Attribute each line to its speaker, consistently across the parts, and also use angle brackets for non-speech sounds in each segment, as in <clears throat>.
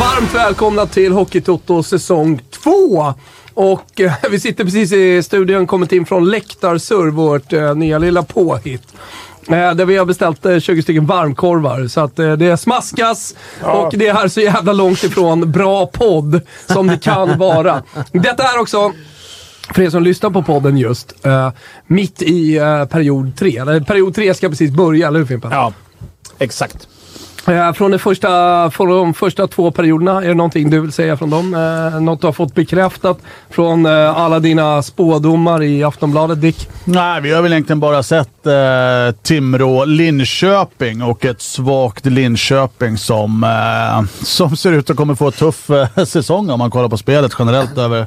Speaker 1: Varmt välkomna till Hockeytoto säsong 2! Och eh, <laughs> vi sitter precis i studion, kommit in från Läktarsurr, vårt eh, nya lilla påhitt. Eh, där vi har beställt eh, 20 stycken varmkorvar. Så att eh, det smaskas och det är så jävla långt ifrån bra podd som det kan vara. Detta är också för er som lyssnar på podden just, eh, mitt i eh, period tre. Eller, period tre ska precis börja, eller hur Fimpen?
Speaker 2: Ja, exakt.
Speaker 1: Eh, från, de första, från de första två perioderna, är det någonting du vill säga från dem? Eh, något du har fått bekräftat från eh, alla dina spådomar i Aftonbladet, Dick?
Speaker 2: Nej, vi har väl egentligen bara sett eh, Timrå-Linköping och ett svagt Linköping som, eh, som ser ut att kommer få en tuff eh, säsong om man kollar på spelet generellt över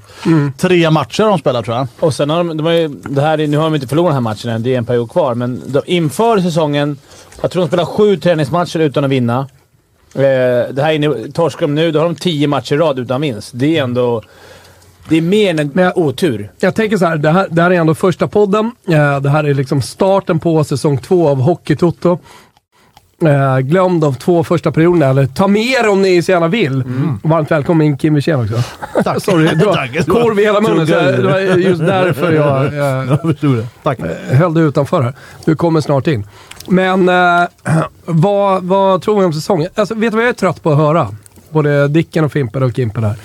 Speaker 2: tre matcher de spelar tror jag.
Speaker 3: Och sen har de, de har ju, det här, är- nu har de inte förlorat den här matchen än. Det är en period kvar, men de, inför säsongen... Jag tror de spelar sju träningsmatcher utan att vinna. Eh, det här inne, torskar de nu, då har de tio matcher i rad utan vinst. Det är ändå... Det är mer än
Speaker 1: Men jag-
Speaker 3: otur.
Speaker 1: Jag tänker så här, det här, det här är ändå första podden. Eh, det här är liksom starten på säsong två av Hockeytoto. Eh, glöm de två första perioderna, eller ta med er om ni så gärna vill. Varmt välkommen in Kim Wirsén också. Tack. <laughs> Sorry, det
Speaker 2: Mm. Tack.
Speaker 1: var korv i hela munnen. Så det var just därför jag
Speaker 2: <laughs>
Speaker 1: eh,
Speaker 2: Tack.
Speaker 1: höll dig utanför här. Du kommer snart in. Men eh, <clears throat> vad, vad tror vi om säsongen? Alltså, vet du vad jag är trött på att höra? Både Dicken och Fimpen och Kimpen här.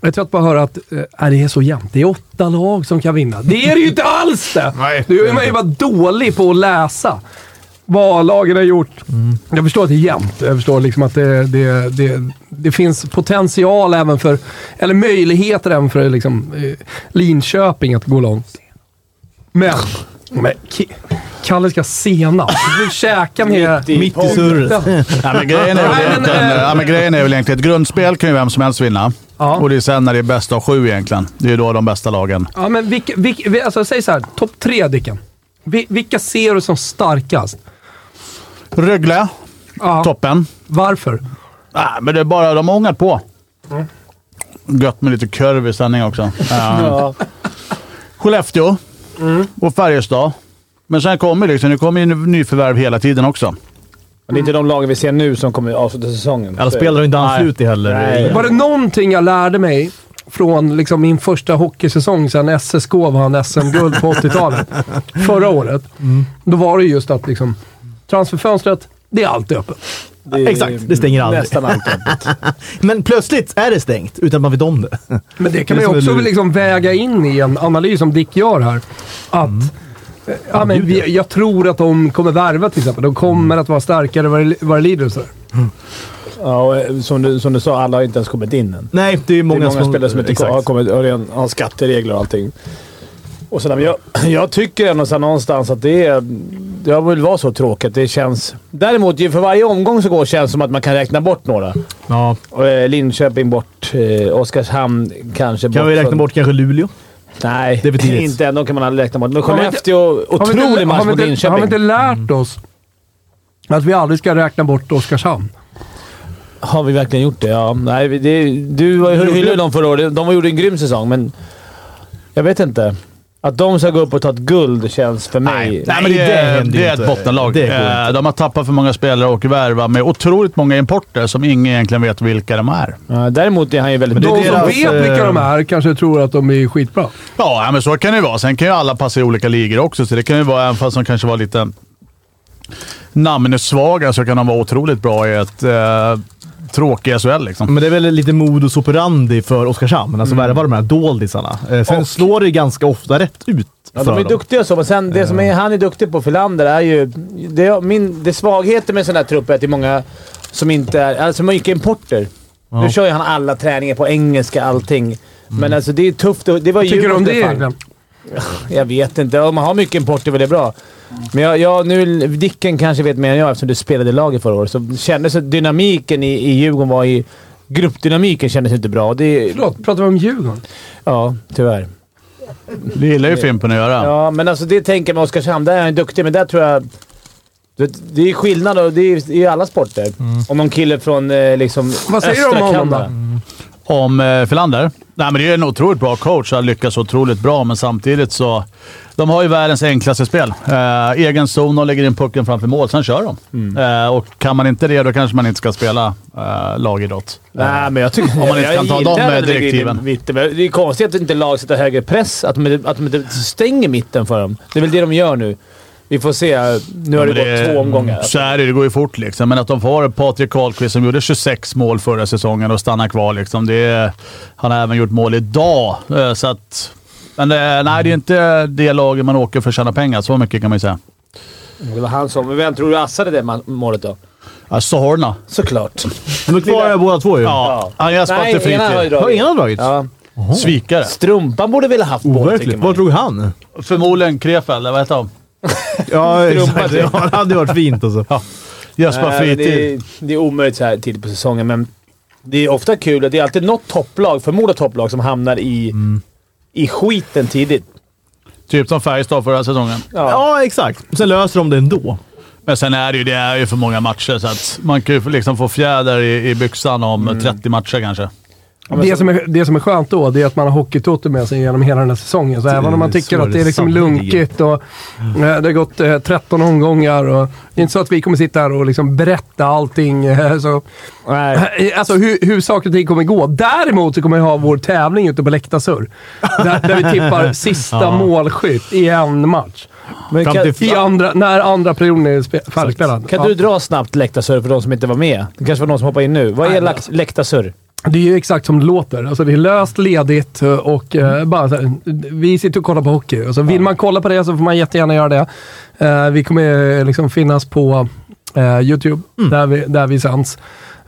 Speaker 1: Jag är trött på att höra att eh, nej, det är så jämnt. Det är åtta lag som kan vinna. Det är det ju inte alls det!
Speaker 2: Nej,
Speaker 1: du är man ju bara dålig på att läsa vad lagen har gjort. Jag förstår att det är jämnt. Jag förstår liksom att det, det, det, det finns potential även för, eller möjligheter även för liksom, eh, Linköping att gå långt. Men, men Ki- Kalle ska senast. Nu käkar ni...
Speaker 3: Mitt
Speaker 4: i surret.
Speaker 2: Ja, men grejen är väl
Speaker 1: Nej, men,
Speaker 2: egentligen,
Speaker 1: eh,
Speaker 2: ja, men grejen är väl egentligen ett grundspel kan ju vem som helst vinna.
Speaker 1: Ja.
Speaker 2: Och det är sen när det är bäst av sju egentligen. Det är ju då de bästa lagen.
Speaker 1: Ja, men vilka, vilka, alltså, säg så här. Topp tre, Dicken. Vi- Vilka ser du som starkast?
Speaker 2: Rögle,
Speaker 1: Ja.
Speaker 2: toppen.
Speaker 1: Varför?
Speaker 2: Nej, men det är bara de har ångat på. Mm. Gött med lite kurv i
Speaker 1: <laughs>
Speaker 2: sändning också. Ja.
Speaker 3: Ja.
Speaker 2: Skellefteå
Speaker 1: Mm.
Speaker 2: och Färjestad. Men sen kommer liksom, det kommer ju nyförvärv hela tiden också.
Speaker 3: Men det är inte de lagen vi ser nu som kommer avsluta säsongen.
Speaker 4: Alla
Speaker 3: Så-
Speaker 4: spelare har inte anslutit heller.
Speaker 3: Nej.
Speaker 1: Var det någonting jag lärde mig från liksom, min första hockeysäsong sedan SSK vann SM-guld på
Speaker 4: <laughs>
Speaker 1: 80-talet, förra året.
Speaker 4: Mm.
Speaker 1: Då var det just att liksom, transferfönstret, det är alltid öppet.
Speaker 3: Det är
Speaker 4: Exakt, det stänger aldrig.
Speaker 3: Nästan alltid.
Speaker 4: <laughs> Men plötsligt är det stängt utan att man vet om det.
Speaker 1: Men det kan
Speaker 4: <laughs> Det
Speaker 1: man
Speaker 4: är
Speaker 1: ju
Speaker 4: som
Speaker 1: också
Speaker 4: en lur.
Speaker 1: liksom väga in i en analys som Dick gör här. Att,
Speaker 4: Mm.
Speaker 1: eh, ja, men vi, jag tror att de kommer värva till exempel. De
Speaker 4: Mm.
Speaker 1: kommer att vara starkare vad det- vad det lider och sådär.
Speaker 3: Ja, och eh, som du, som du sa, alla har inte ens kommit in än.
Speaker 4: Nej, det är
Speaker 3: Det är
Speaker 4: många,
Speaker 3: många spelare som inte
Speaker 4: exakt.
Speaker 3: har kommit har redan har skatteregler och allting. Och sen, men jag, <clears throat> jag tycker ändå så här någonstans att det är... Det vill vara så tråkigt. Det känns... Däremot, ju för varje omgång som går känns det som att man kan räkna bort några.
Speaker 4: Ja.
Speaker 3: Och, eh, Linköping bort. Eh, Oskarshamn kanske bort.
Speaker 4: Kan vi räkna
Speaker 3: från-
Speaker 4: bort kanske Luleå?
Speaker 3: Nej,
Speaker 4: Det är för tidigt.
Speaker 3: <laughs> inte än. De kan man aldrig räkna bort. Men
Speaker 1: Har vi inte-
Speaker 3: Skellefteå.
Speaker 1: Har vi inte-
Speaker 3: Otrolig match
Speaker 1: har vi
Speaker 3: mot
Speaker 1: inte- Har vi
Speaker 3: Linköping.
Speaker 1: inte lärt oss att vi aldrig ska räkna bort Oskarshamn?
Speaker 3: Har vi verkligen gjort det? Ja. Nej, vi- det, du var- hyllade ju dem förra året. De gjorde en grym säsong, men jag vet inte. Att de ska gå upp och ta ett guld känns för mig...
Speaker 2: Nej, men det,
Speaker 4: det
Speaker 2: är,
Speaker 4: händer
Speaker 2: det är
Speaker 4: inte.
Speaker 2: ett bottenlag.
Speaker 4: Det går
Speaker 2: Eh, De har tappat för många spelare och värvat med otroligt många importer som ingen egentligen vet vilka de är.
Speaker 3: Ja, Däremot är eh, han ju väldigt...
Speaker 4: Men det är
Speaker 1: De som
Speaker 4: deras,
Speaker 1: vet vilka de är kanske tror att de är skitbra.
Speaker 2: Ja, ja, men så kan det ju vara. Sen kan ju alla passa i olika ligor också, så det kan ju vara, även fast de kanske var lite namnesvaga, så kan de vara otroligt bra i ett eh, tråkigt SHL liksom.
Speaker 4: Men det är väl lite modus operandi för Oskarshamn.
Speaker 1: Mm.
Speaker 4: Alltså värva de här doldisarna. Eh, Sen slår det ganska ofta rätt ut
Speaker 3: Ja,
Speaker 4: för
Speaker 3: de är
Speaker 4: dem.
Speaker 3: duktiga så, men sen det som är, han är duktig på, Filander, är ju... Det, min, det svagheten med sån här trupp är att det är många som inte är... Alltså mycket importer. Nu kör ju han alla träningar på engelska, allting. Men alltså det är tufft. och- Det var
Speaker 1: Tycker du
Speaker 3: Djurgården
Speaker 1: om det
Speaker 3: fan.
Speaker 1: egentligen?
Speaker 3: Jag vet inte. Om man har mycket import är väl det bra. Men jag, jag, nu, Dicken kanske vet mer än jag eftersom du spelade i laget förra året. Så kändes att dynamiken i, i Djurgården var i... Gruppdynamiken kändes inte bra. Det,
Speaker 1: Förlåt, pratar vi om Djurgården?
Speaker 3: ja, tyvärr.
Speaker 2: Det gillar ju Fimpen att göra.
Speaker 3: Ja, men alltså det tänker jag med Oskarshamn. Där är han duktig, men där tror jag... Det, det är skillnad och det är i alla sporter.
Speaker 2: Mm.
Speaker 3: Om någon kille från eh, liksom
Speaker 1: Vad säger du
Speaker 3: östra
Speaker 1: om honom
Speaker 3: Kanada.
Speaker 1: då?
Speaker 2: Om eh, Filander? Nej, men det är en otroligt bra coach. Han lyckas otroligt bra, men samtidigt så... De har ju världens enklaste spel. Eh, egen zon, de lägger in pucken framför mål, sen kör de. Eh, och kan man inte det, då kanske man inte ska spela eh, lagidrott.
Speaker 3: Nej, men jag tycker...
Speaker 2: Om man inte kan ta de, eh, direktiven.
Speaker 3: Mitten. Det är konstigt att inte lag sätter högre press. Att de, att de inte stänger mitten för dem. Det är väl det de gör nu. Vi får se. Nu har det,
Speaker 2: Men
Speaker 3: gått två omgångar. alltså.
Speaker 2: Så är det, det går ju fort liksom. Men att de får Patrik Karlqvist som gjorde 26 mål förra säsongen och stannar kvar liksom. Det är, han har även gjort mål idag, eh, så att... Men eh, nej, det är inte det laget man åker för att tjäna pengar. Så mycket kan man ju säga. Mm.
Speaker 3: Det var han som... Men vem tror du assade det ma- målet då?
Speaker 2: Ja, Sohorna.
Speaker 3: Såklart.
Speaker 4: De är kvar här båda två ju.
Speaker 2: Ja, han gör spalt till
Speaker 3: Nej, ena har ju
Speaker 2: fritid.
Speaker 4: Har
Speaker 3: dragit.
Speaker 4: ingen dragit?
Speaker 3: Ja.
Speaker 2: Svikare.
Speaker 3: Strumpan borde väl ha haft boll, tycker
Speaker 4: Overkligt.
Speaker 3: man.
Speaker 4: Var drog han?
Speaker 2: Förmodligen Krefeld, eller vad heter han?
Speaker 4: <laughs>
Speaker 3: <laughs>
Speaker 4: Ja, exakt.
Speaker 3: Strumpa
Speaker 4: Ja, det hade varit fint alltså.
Speaker 2: Jesper
Speaker 3: Nej, men det,
Speaker 2: Fritid.
Speaker 3: är, det är omöjligt så här tidigt på säsongen, men det är ofta kul. att Det är alltid något topplag, förmodat topplag, som hamnar i,
Speaker 2: Mm.
Speaker 3: i skiten tidigt.
Speaker 2: Typ som Färjestad förra säsongen.
Speaker 3: Ja.
Speaker 4: Ja, exakt. Sen löser de det ändå.
Speaker 2: Men sen är det ju, det är ju för många matcher, så att man kan ju liksom få fjäder i, i byxan om
Speaker 3: Mm.
Speaker 2: 30 matcher kanske.
Speaker 1: Det som, är, det som är skönt då, det är att man har hockeytoto med sig genom hela den här säsongen. Så även om man
Speaker 4: så
Speaker 1: tycker
Speaker 4: är
Speaker 1: att det
Speaker 4: det
Speaker 1: är liksom
Speaker 4: sannolikt.
Speaker 1: lunkigt och eh, det har gått eh, 13 omgångar och det är inte så att vi kommer sitta här och liksom berätta allting. eh, Så,
Speaker 3: Nej.
Speaker 1: eh, alltså hur, hur saker och ting kommer gå. Däremot så kommer vi ha vår tävling ute på Läktarsurr. Där, där vi tippar sista målskytt i en match.
Speaker 3: Men
Speaker 4: Fram
Speaker 3: kan,
Speaker 4: till
Speaker 1: I
Speaker 4: Ja.
Speaker 1: andra, när andra perioden är spe- färdigspelad.
Speaker 3: kan du dra snabbt läktarsurr för de som inte var med? Det kanske var någon som hoppade in nu. Vad är lakt-
Speaker 1: <laughs>
Speaker 3: läktarsurr?
Speaker 1: Det är ju exakt som det låter. Alltså det är löst, ledigt och eh,
Speaker 3: Mm.
Speaker 1: bara så här, Vi sitter och kollar på hockey. Alltså, vill man kolla på det så får man jättegärna göra det. Eh, vi kommer eh, liksom finnas på eh, YouTube,
Speaker 3: Mm.
Speaker 1: där, vi, där vi sänds.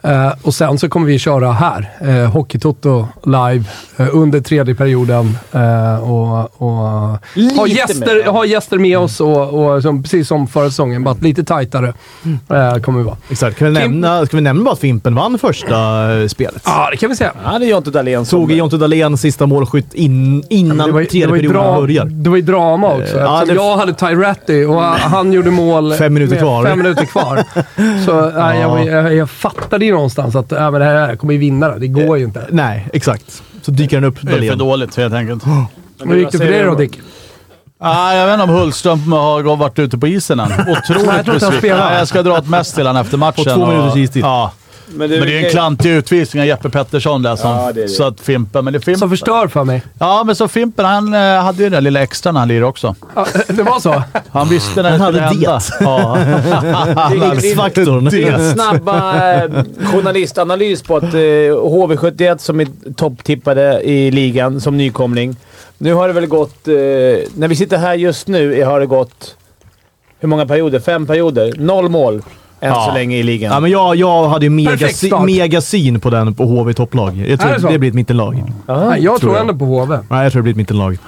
Speaker 1: Eh, och sen så kommer vi köra här, eh, Hockeytoto live, eh, under tredje perioden. Eh, och, och ha,
Speaker 3: Lite
Speaker 1: gäster,
Speaker 3: mer.
Speaker 1: ha gäster med oss, och, och som, precis som förra säsongen, bara lite tajtare
Speaker 3: Mm.
Speaker 1: eh, kommer vi vara.
Speaker 4: Exakt. Kan vi,
Speaker 1: Kim-
Speaker 4: nämna, ska vi nämna bara att Fimpen vann första eh, spelet?
Speaker 1: Ja, det kan vi säga.
Speaker 3: Ja, det är Jonte Dahlén som...
Speaker 4: Tog Jonte Dahlén sista målskytt in, innan
Speaker 1: Det var, ju-
Speaker 4: tredje
Speaker 1: det var ju
Speaker 4: perioden
Speaker 1: dra-
Speaker 4: börjar. Eh,
Speaker 1: Det var ju drama också.
Speaker 4: ja,
Speaker 1: Eftersom
Speaker 4: det-
Speaker 1: jag hade Tyratti och han- han gjorde mål
Speaker 4: <laughs> Fem minuter
Speaker 1: med
Speaker 4: kvar.
Speaker 1: Fem minuter
Speaker 4: <laughs>
Speaker 1: kvar. Så nej, jag, var- jag, jag fattade ju någonstans att äh, men det här jag kommer ju vinna det. Det går ju inte.
Speaker 4: Eh, Nej, exakt. Så dyker han upp,
Speaker 2: Det är för
Speaker 4: Dahlén.
Speaker 2: dåligt helt enkelt.
Speaker 1: Hur gick det för dig då, Dick?
Speaker 2: Ah, jag vet inte om Hultström har varit ute på
Speaker 1: <laughs>
Speaker 2: isen än.
Speaker 1: tror
Speaker 2: Otroligt
Speaker 1: inte han
Speaker 2: besviken.
Speaker 1: spelar.
Speaker 2: Nej, Jag ska dra ett mess till honom efter matchen.
Speaker 4: Och två minuters istid.
Speaker 2: Ja.
Speaker 3: Men
Speaker 2: Men det är en klantig utvisning av Jeppe Pettersson där som...
Speaker 3: Ja, det är det.
Speaker 2: Så att Fimpen... Men det är Fimpen.
Speaker 1: Som förstör för mig.
Speaker 2: Ja, men så Fimpen han eh, hade ju den där lilla extra när han lirade också.
Speaker 1: Ja, <laughs> det var så?
Speaker 2: Han visste när det
Speaker 4: Han
Speaker 2: skulle
Speaker 4: hade
Speaker 2: hända. Ja. <laughs>
Speaker 4: X-faktorn.
Speaker 3: Det är en snabba eh,
Speaker 1: <laughs>
Speaker 3: journalistanalys på att eh, HV71, som är topptippade i ligan som nykomling. Nu har det väl gått... Eh, när vi sitter här just nu är- har det gått... Hur många perioder? Fem perioder. Noll mål än
Speaker 2: Ja.
Speaker 3: så länge i ligan.
Speaker 4: Ja, men jag, jag hade ju mega,
Speaker 1: Perfekt
Speaker 4: sy,
Speaker 1: start.
Speaker 4: mega syn på den på HV topplag. Jag tror
Speaker 1: Är det så?
Speaker 4: det, blir ett mittenlag.
Speaker 1: Nej, jag tror
Speaker 4: jag.
Speaker 1: ändå på HV.
Speaker 4: Nej, jag tror det blir ett mittenlag.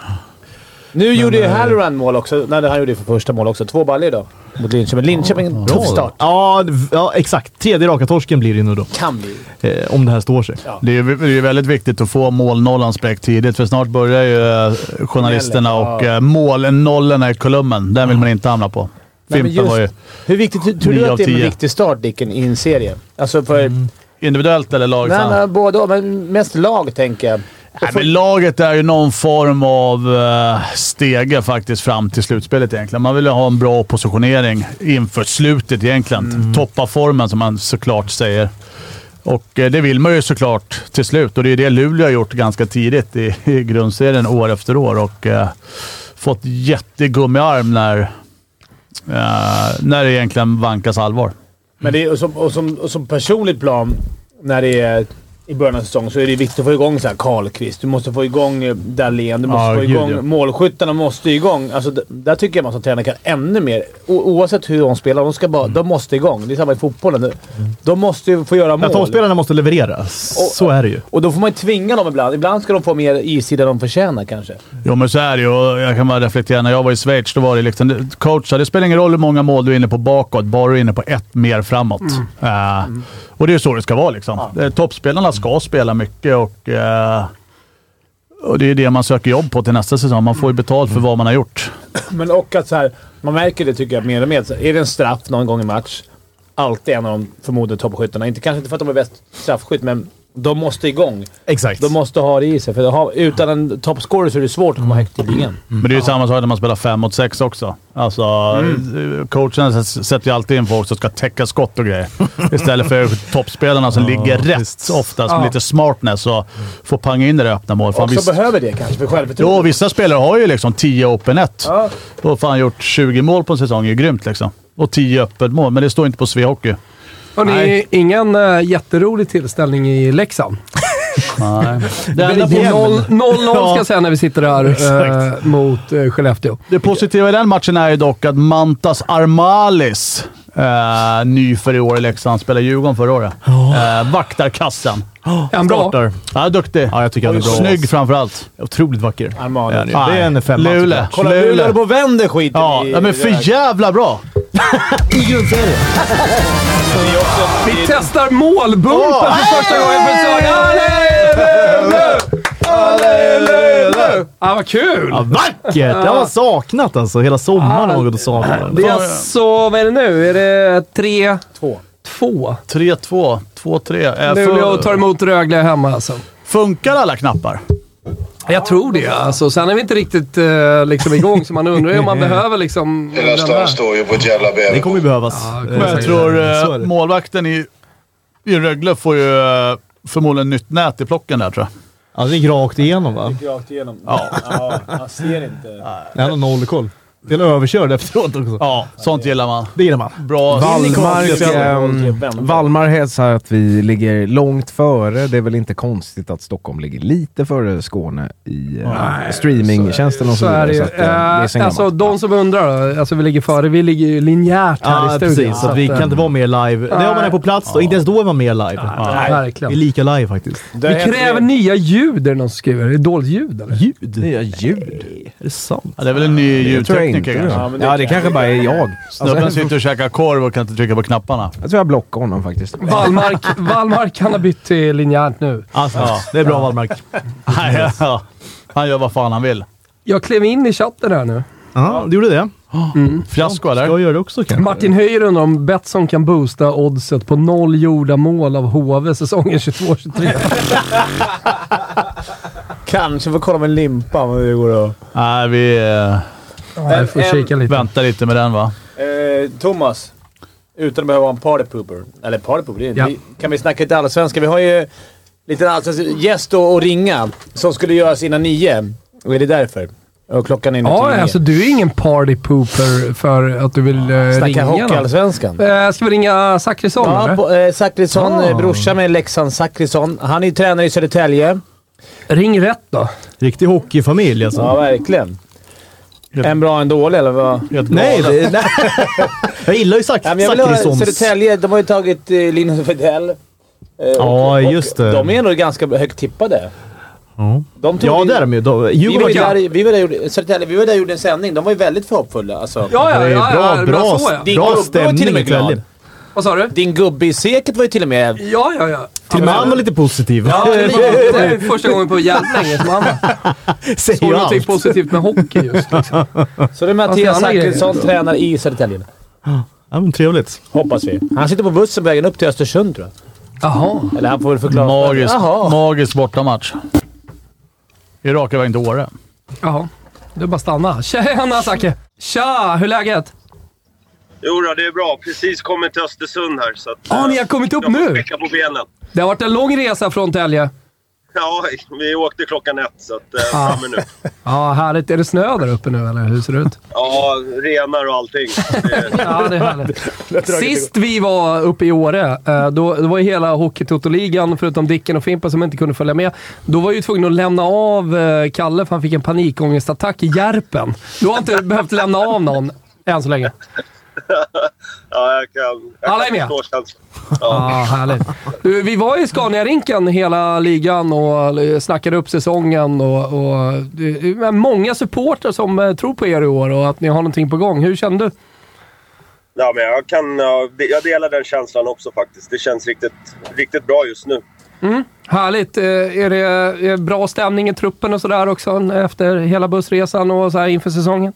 Speaker 3: nu gjorde
Speaker 2: eh,
Speaker 3: ju Halloran mål också. Nej, han gjorde ju för första mål också. Två baller idag mot Linköping. Linköping, tuff start.
Speaker 4: Ja, det- ja, exakt. Tredje raka torsken blir det nu då.
Speaker 3: Kan vi.
Speaker 4: Eh, om det här står sig.
Speaker 2: Det är ju det är ju väldigt viktigt att få målnollan spräckt tidigt, för snart börjar ju eh, journalisterna och eh, målnollorna i kolumnen. Den vill man inte hamna på.
Speaker 3: Nej, men
Speaker 2: Fimpen var ju...
Speaker 3: hur viktigt tror- tror
Speaker 2: Nio
Speaker 3: du
Speaker 2: av
Speaker 3: att det är en
Speaker 2: tio. Mm.
Speaker 3: viktig start, Dicken, i en serie? Alltså för...
Speaker 2: Individuellt eller lag?
Speaker 3: Nej,
Speaker 2: sen?
Speaker 3: nej, både och, men mest lag tänker jag.
Speaker 2: Nej, men laget är ju någon form av eh, stege faktiskt fram till slutspelet egentligen. Man vill ju ha en bra positionering inför slutet egentligen.
Speaker 4: Mm.
Speaker 2: Toppa formen som man såklart säger. Och eh, det vill man ju såklart till slut och det är det Luleå har gjort ganska tidigt i, i grundserien år efter år och eh, fått jättegummiarm när, eh, när det egentligen vankas allvar.
Speaker 3: Men det är, och, som, och, som, och som personligt plan, när det är i början av säsongen, så är det viktigt att få igång så här Karlqvist. Du måste få igång eh, Dahlén. Du måste
Speaker 4: Ja,
Speaker 3: få
Speaker 4: gud,
Speaker 3: igång...
Speaker 4: ja.
Speaker 3: Målskyttarna måste igång. Alltså, d- där tycker jag man som tränare kan ännu mer. O, oavsett hur de spelar. De, ska bara,
Speaker 4: Mm.
Speaker 3: de måste igång. Det är samma i fotbollen. De måste ju få göra
Speaker 4: Ja,
Speaker 3: mål.
Speaker 4: toppspelarna måste leverera. Så är det ju.
Speaker 3: Och då får man ju tvinga dem ibland. Ibland ska de få mer istid än de förtjänar kanske.
Speaker 2: Jo, men så är det ju. Och Jag kan bara reflektera. När jag var i Schweiz, då var det liksom... det- Coach sa, det spelar ingen roll hur många mål du är inne på bakåt, bara du är inne på ett mer framåt. Eh, Och det är ju så det ska vara liksom. Eh, Toppspelarna ska spela mycket och... eh, och det är ju det man söker jobb på till nästa säsong. Man får ju betalt för vad man har gjort.
Speaker 3: Men och att så här, man märker det tycker jag mer och mer. Så här, Är det en straff någon gång i match, alltid en av de förmodade toppskyttarna. Inte, kanske inte för att de är bäst straffskytt, men De måste igång.
Speaker 4: Exakt.
Speaker 3: De måste ha det i sig. För de har, utan en toppscorer så är det svårt att komma högt i
Speaker 2: Mm.
Speaker 3: ligan.
Speaker 2: Men det är ju samma sak när man spelar fem mot sex också. Alltså, Coachen s- sätter ju alltid in folk som ska täcka skott och grejer. Istället för toppspelarna som ligger rätt oftast med
Speaker 1: Ja.
Speaker 2: lite smartness och får panga in det där öppna målet. Fan,
Speaker 3: Också
Speaker 2: vissa,
Speaker 3: behöver det kanske för
Speaker 2: jo,
Speaker 3: självförtroendet.
Speaker 2: vissa spelare har ju liksom 10 open net
Speaker 3: Ja.
Speaker 2: och fan gjort 20 mål på en säsong. Det är ju grymt liksom. Och 10 öppet mål, men det står inte på Svehockey.
Speaker 1: Har ni
Speaker 2: Nej.
Speaker 1: ingen äh, jätterolig tillställning i Leksand?
Speaker 2: <laughs> Nej. Det,
Speaker 1: Det
Speaker 2: enda
Speaker 1: är
Speaker 2: på,
Speaker 1: 0-0 ska jag säga när vi sitter
Speaker 4: <laughs>
Speaker 1: här
Speaker 2: Exakt.
Speaker 1: eh, mot äh, Skellefteå.
Speaker 2: det positiva i den matchen är ju dock att Mantas Armalis, eh, ny för i år i Leksand, spelade Djurgården förra året. Eh, vaktar kassen.
Speaker 1: Är han bra?
Speaker 4: Startar.
Speaker 2: Ja, duktig.
Speaker 4: Ja, jag tycker han är bra.
Speaker 2: Snygg framförallt.
Speaker 4: Otroligt vacker.
Speaker 3: Armani.
Speaker 4: Ja, det är en femma.
Speaker 2: Luleå.
Speaker 3: Kolla, nu håller på och vänder skiten
Speaker 2: Ja,
Speaker 3: i...
Speaker 2: ja, men för jävla
Speaker 3: <laughs>
Speaker 2: bra! <laughs>
Speaker 1: Vi testar målbumpen för första gången för säsongen. Ah, vad kul!
Speaker 4: Ja, vackert! Det har man saknat alltså. Hela sommaren har man gått och saknat.
Speaker 1: Det är alltså, vad är det nu? Är det tre,
Speaker 3: Två.
Speaker 1: två?
Speaker 2: 3-2, 2-3. Eh,
Speaker 1: Luleå tar
Speaker 2: fu-
Speaker 1: emot Rögle hemma alltså.
Speaker 2: Funkar alla knappar?
Speaker 1: Jag tror det. Alltså, sen är vi inte riktigt eh, liksom igång, så man undrar ju om
Speaker 4: <laughs>
Speaker 1: man behöver liksom...
Speaker 5: Hela stan står ju på ett jävla ben.
Speaker 4: Det kommer ju behövas.
Speaker 1: kommer
Speaker 4: Eh,
Speaker 2: Men jag tror eh,
Speaker 4: så är det.
Speaker 2: målvakten i, i Rögle får ju eh, förmodligen nytt nät i plocken där tror jag.
Speaker 4: Ja, det gick rakt igenom va?
Speaker 3: Rakt igenom. Ja. ja. Han ser inte.
Speaker 4: Han har noll koll. Till överkörd efteråt också.
Speaker 2: Ja, sånt gillar man.
Speaker 4: Det gillar man. eh,
Speaker 2: Bra.
Speaker 6: Wallmark,
Speaker 3: Niklas-
Speaker 6: ehm, Wallmark hälsar att vi ligger långt före. Det är väl inte konstigt att Stockholm ligger lite före Skåne i eh, streamingtjänsten och så
Speaker 1: Så är det
Speaker 6: vidare.
Speaker 1: ju.
Speaker 6: Så att, eh, det är sen
Speaker 1: Eh, Alltså,
Speaker 6: gammalt.
Speaker 1: de som undrar då. Alltså, vi ligger före. Vi ligger ju linjärt här
Speaker 4: Ja,
Speaker 1: i studion.
Speaker 4: precis. Så att vi
Speaker 1: eh,
Speaker 4: kan inte vara mer live. Det är om man är på plats då. Inte ens då är man mer live.
Speaker 1: Nej,
Speaker 4: Vi är
Speaker 1: verkligen.
Speaker 4: lika live faktiskt.
Speaker 1: Vi kräver nya ljud, är det någon som skriver. Är det dåligt ljud, eller?
Speaker 4: Ljud?
Speaker 6: Nya ljud?
Speaker 4: Är det sant?
Speaker 2: Ja, det är väl en ny
Speaker 6: Det tror jag
Speaker 2: ljudtekniker
Speaker 6: inte.
Speaker 2: kanske.
Speaker 6: Ja, det, ja, det kanske bara är jag. Alltså,
Speaker 2: Snubben sitter och käkar korv och kan inte trycka på knapparna.
Speaker 6: jag tror jag blockar honom faktiskt.
Speaker 1: Wallmark, Wallmark han har bytt till linjärt nu.
Speaker 4: Alltså, Det är bra Wallmark.
Speaker 2: Nej, <laughs> ja. Han gör vad fan han vill.
Speaker 1: Jag klev in i chatten här nu. Mm.
Speaker 4: Ja, du gjorde det.
Speaker 2: Fiasko
Speaker 4: Ska
Speaker 2: eller?
Speaker 4: jag göra det också kanske?
Speaker 1: Martin Höjer undrar om Betsson kan boosta oddset på noll gjorda mål av HV säsongen
Speaker 4: <laughs>
Speaker 1: 22-23.
Speaker 3: Kanske får kolla med limpa om det går att...
Speaker 2: Nej, vi eh,
Speaker 1: Ja, vi får
Speaker 3: En-
Speaker 1: kika lite.
Speaker 2: väntar lite med den va.
Speaker 3: Eh, Thomas. Utan att behöva vara en party pooper. Eller party pooper, det är,
Speaker 1: Ja.
Speaker 3: vi, kan vi snacka lite allsvenska? Vi har ju lite allsvensk gäst att att ringa som skulle göras innan nio. Och är det därför? Och klockan är nu till
Speaker 1: Ja,
Speaker 3: nio.
Speaker 1: alltså du är ingen party pooper för att du vill eh,
Speaker 3: Snacka
Speaker 1: ringa någon.
Speaker 3: hockeyallsvenskan.
Speaker 1: Eh, Ska vi ringa Zachrisson
Speaker 3: Ja,
Speaker 1: eller? Ah.
Speaker 3: på, eh, Zachrisson, eh, brorsa med Leksand Zachrisson. Han är ju tränare i Södertälje.
Speaker 1: Ring rätt då.
Speaker 4: Riktig hockeyfamilj alltså.
Speaker 3: Ja, verkligen. En bra och en dålig, eller vad?
Speaker 2: Helt
Speaker 4: Nej,
Speaker 2: galet.
Speaker 4: det, nej. jag gillar ju Zac-
Speaker 3: Ja, men jag vill ha
Speaker 4: Zachrissons.
Speaker 3: Södertälje. De har ju tagit eh, Linus Widell. eh,
Speaker 4: Ja, just det.
Speaker 3: De är nog ganska högt tippade. De tog
Speaker 4: Ja,
Speaker 3: in-
Speaker 4: det är de ju. De-
Speaker 3: Vi var, ju
Speaker 4: Djurgården kan-
Speaker 3: där, vi, var där, och gjorde- Södertälje, vi var där och gjorde en sändning. De var ju väldigt förhoppfulla. Alltså.
Speaker 1: Ja, ja,
Speaker 4: Det är
Speaker 1: ja,
Speaker 4: bra,
Speaker 1: ja,
Speaker 4: bra,
Speaker 1: så, ja.
Speaker 3: Din
Speaker 4: bra
Speaker 3: gubbe var till och
Speaker 4: stämning
Speaker 3: med
Speaker 4: i
Speaker 3: glad.
Speaker 4: kvällen.
Speaker 1: Vad sa du?
Speaker 3: Din gubbe i seket var ju till och med...
Speaker 1: Ja, ja, ja.
Speaker 4: Till och med han var lite positiv. <laughs>
Speaker 1: Ja, det är första gången på jävligt länge som han
Speaker 4: Säger
Speaker 1: såg
Speaker 4: ju
Speaker 1: någonting
Speaker 4: allt.
Speaker 1: positivt Alltså, med hockey just. Liksom.
Speaker 3: Så det är
Speaker 1: Ja,
Speaker 3: Mattias
Speaker 1: så andra
Speaker 3: Zachrisson, tränare i Södertälje.
Speaker 4: Ja, men trevligt.
Speaker 3: Hoppas vi. Han sitter på bussen på vägen upp till Östersund tror jag.
Speaker 1: Jaha.
Speaker 3: Eller han får väl förklara.
Speaker 2: Magiskt.
Speaker 3: Jaha.
Speaker 2: Magisk bortamatch. Vi rakar iväg till Åre.
Speaker 1: Jaha. Det är bara att stanna. Tjena Zacke! Tja! Hur är läget?
Speaker 7: Jo, då, det är bra. Precis kommit till Östersund här. Så att,
Speaker 1: Ja,
Speaker 7: eh,
Speaker 1: ni har kommit upp
Speaker 7: jag får
Speaker 1: nu!
Speaker 7: Späcka på benen.
Speaker 1: Det har varit en lång resa från Tälje.
Speaker 7: Ja, vi åkte klockan ett, så att, eh,
Speaker 1: Ah.
Speaker 7: framme nu.
Speaker 1: Ja, härligt. Är det snö där uppe nu, eller hur ser det ut?
Speaker 7: Ja, renar och allting. Det,
Speaker 1: <laughs> Ja, det är härligt. Sist vi var uppe i Åre, eh, då, då var ju hela Hockeytotoligan, förutom Dicken och Fimpa som inte kunde följa med, då var ju tvungen att lämna av eh, Kalle för han fick en panikångestattack i Järpen. Du har inte <laughs> behövt lämna av någon än så länge.
Speaker 7: ja, jag kan, jag
Speaker 1: Alla är
Speaker 7: kan
Speaker 1: med.
Speaker 7: förstå känslan. Ja.
Speaker 1: Ja, Ah, härligt. Du, vi var i Scania-rinken hela ligan och eh, snackade upp säsongen. Och, och, eh, det är många supportrar som eh, tror på er i år och att ni har någonting på gång. Hur kände du?
Speaker 7: Ja, men jag, kan, ja, det- jag delar den känslan också faktiskt. Det känns riktigt, riktigt bra just nu.
Speaker 1: Mm. Härligt. Eh, Är det är det
Speaker 3: <laughs>
Speaker 1: bra stämning i truppen och sådär också efter hela bussresan och så här inför säsongen?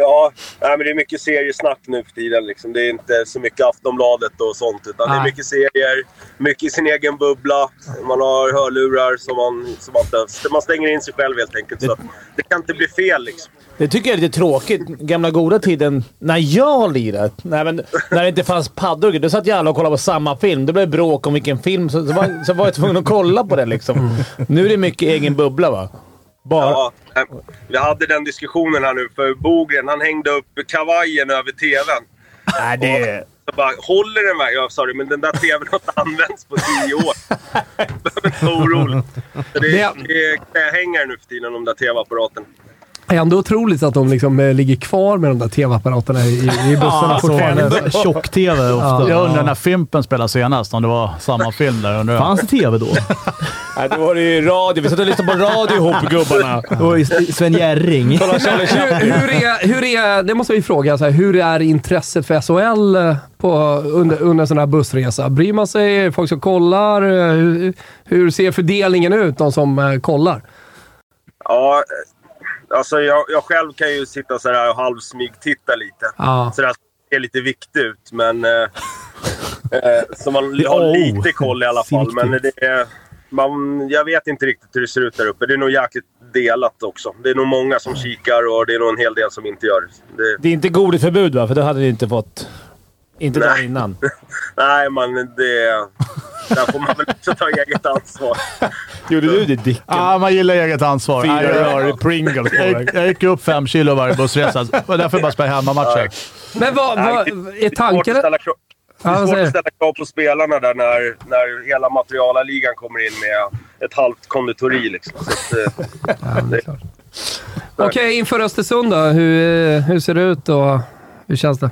Speaker 7: ja, nej, men det är mycket seriesnack nu för tiden. Liksom. Det är inte så mycket Aftonbladet och sånt. Utan det är
Speaker 1: Nej.
Speaker 7: mycket serier, mycket i sin egen bubbla. Man har hörlurar som man, som man, inte, man stänger in sig själv helt enkelt. Så det kan inte bli fel liksom.
Speaker 3: Det tycker jag är lite tråkigt. Gamla goda tiden när jag lirade. Nej, men när det inte fanns paddor Då satt ju alla och kollade på samma film. Det blev bråk om vilken film. Så, så, var, så var jag tvungen att kolla på den liksom. Nu är det mycket egen bubbla va? Bara...
Speaker 7: Ja, nej, vi hade den diskussionen här nu, för Bogren han hängde upp kavajen över tvn.
Speaker 3: Nej, det...
Speaker 7: Så bara, håller den verkligen? Jag sa det, men den där tvn har inte <laughs> använts på tio år. Behöver inte vara orolig. <laughs> Så Det är,
Speaker 1: Det-
Speaker 7: det är knähängare nu för tiden, de där tv-apparaterna.
Speaker 1: Det är ändå otroligt att de liksom, eh, ligger kvar med de där tv-apparaterna i, i bussarna fortfarande.
Speaker 4: Tjock-tv ofta.
Speaker 2: Jag undrar när Fimpen spelade senast, om det var samma film där. Undrar. jag.
Speaker 4: Fanns det tv då?
Speaker 3: Nej, då var det ju radio. Vi satt och lyssnade på radio ihop gubbarna.
Speaker 4: Och S- Sven Jerring.
Speaker 3: Kolla
Speaker 1: Hur,
Speaker 3: Charlie Chaplin.
Speaker 1: hur, är, hur är, det måste vi fråga, så här, hur är intresset för SHL eh, på, under, under en sån här bussresa? Bryr man sig? Är det folk som kollar? Eh, Hur, hur ser fördelningen ut, de som eh, kollar?
Speaker 7: Ja, eh, alltså jag, jag själv kan ju sitta så här och halvsmygtitta lite.
Speaker 1: Ja.
Speaker 7: Så det här ser lite viktigt ut, men... Eh, eh, så man li- har
Speaker 4: Oh,
Speaker 7: lite koll i alla fall. Men
Speaker 4: viktigt.
Speaker 7: det är, man, jag vet inte riktigt hur det ser ut där uppe. Det är nog jäkligt delat också. Det är nog många som kikar och det är nog en hel del som inte gör det. det.
Speaker 3: Det är inte godisförbud va? För då hade ni inte fått... Inte dagen innan.
Speaker 7: Nej, man, det... Där får man väl också ta eget ansvar.
Speaker 3: <laughs> Gjorde du det Dicken?
Speaker 2: Ah, man gillar eget ansvar. Nej, jag-
Speaker 3: rör Pringles på
Speaker 2: jag, gick- jag gick upp fem kilo varje bussresa. Det var därför jag bara spelade hemmamatcher.
Speaker 1: Men vad, vad
Speaker 7: Det
Speaker 1: är
Speaker 7: svårt
Speaker 1: tanken...
Speaker 7: att ställa krav- Det
Speaker 1: Ja,
Speaker 7: är
Speaker 1: vad
Speaker 7: svårt
Speaker 1: säger
Speaker 7: att
Speaker 1: du?
Speaker 7: ställa krav på spelarna där när, när hela materialligan kommer in med ett halvt konditori. Liksom. Så att, eh,
Speaker 1: <laughs> Okej, inför Östersund då. Hur, eh, hur ser det ut och hur känns det?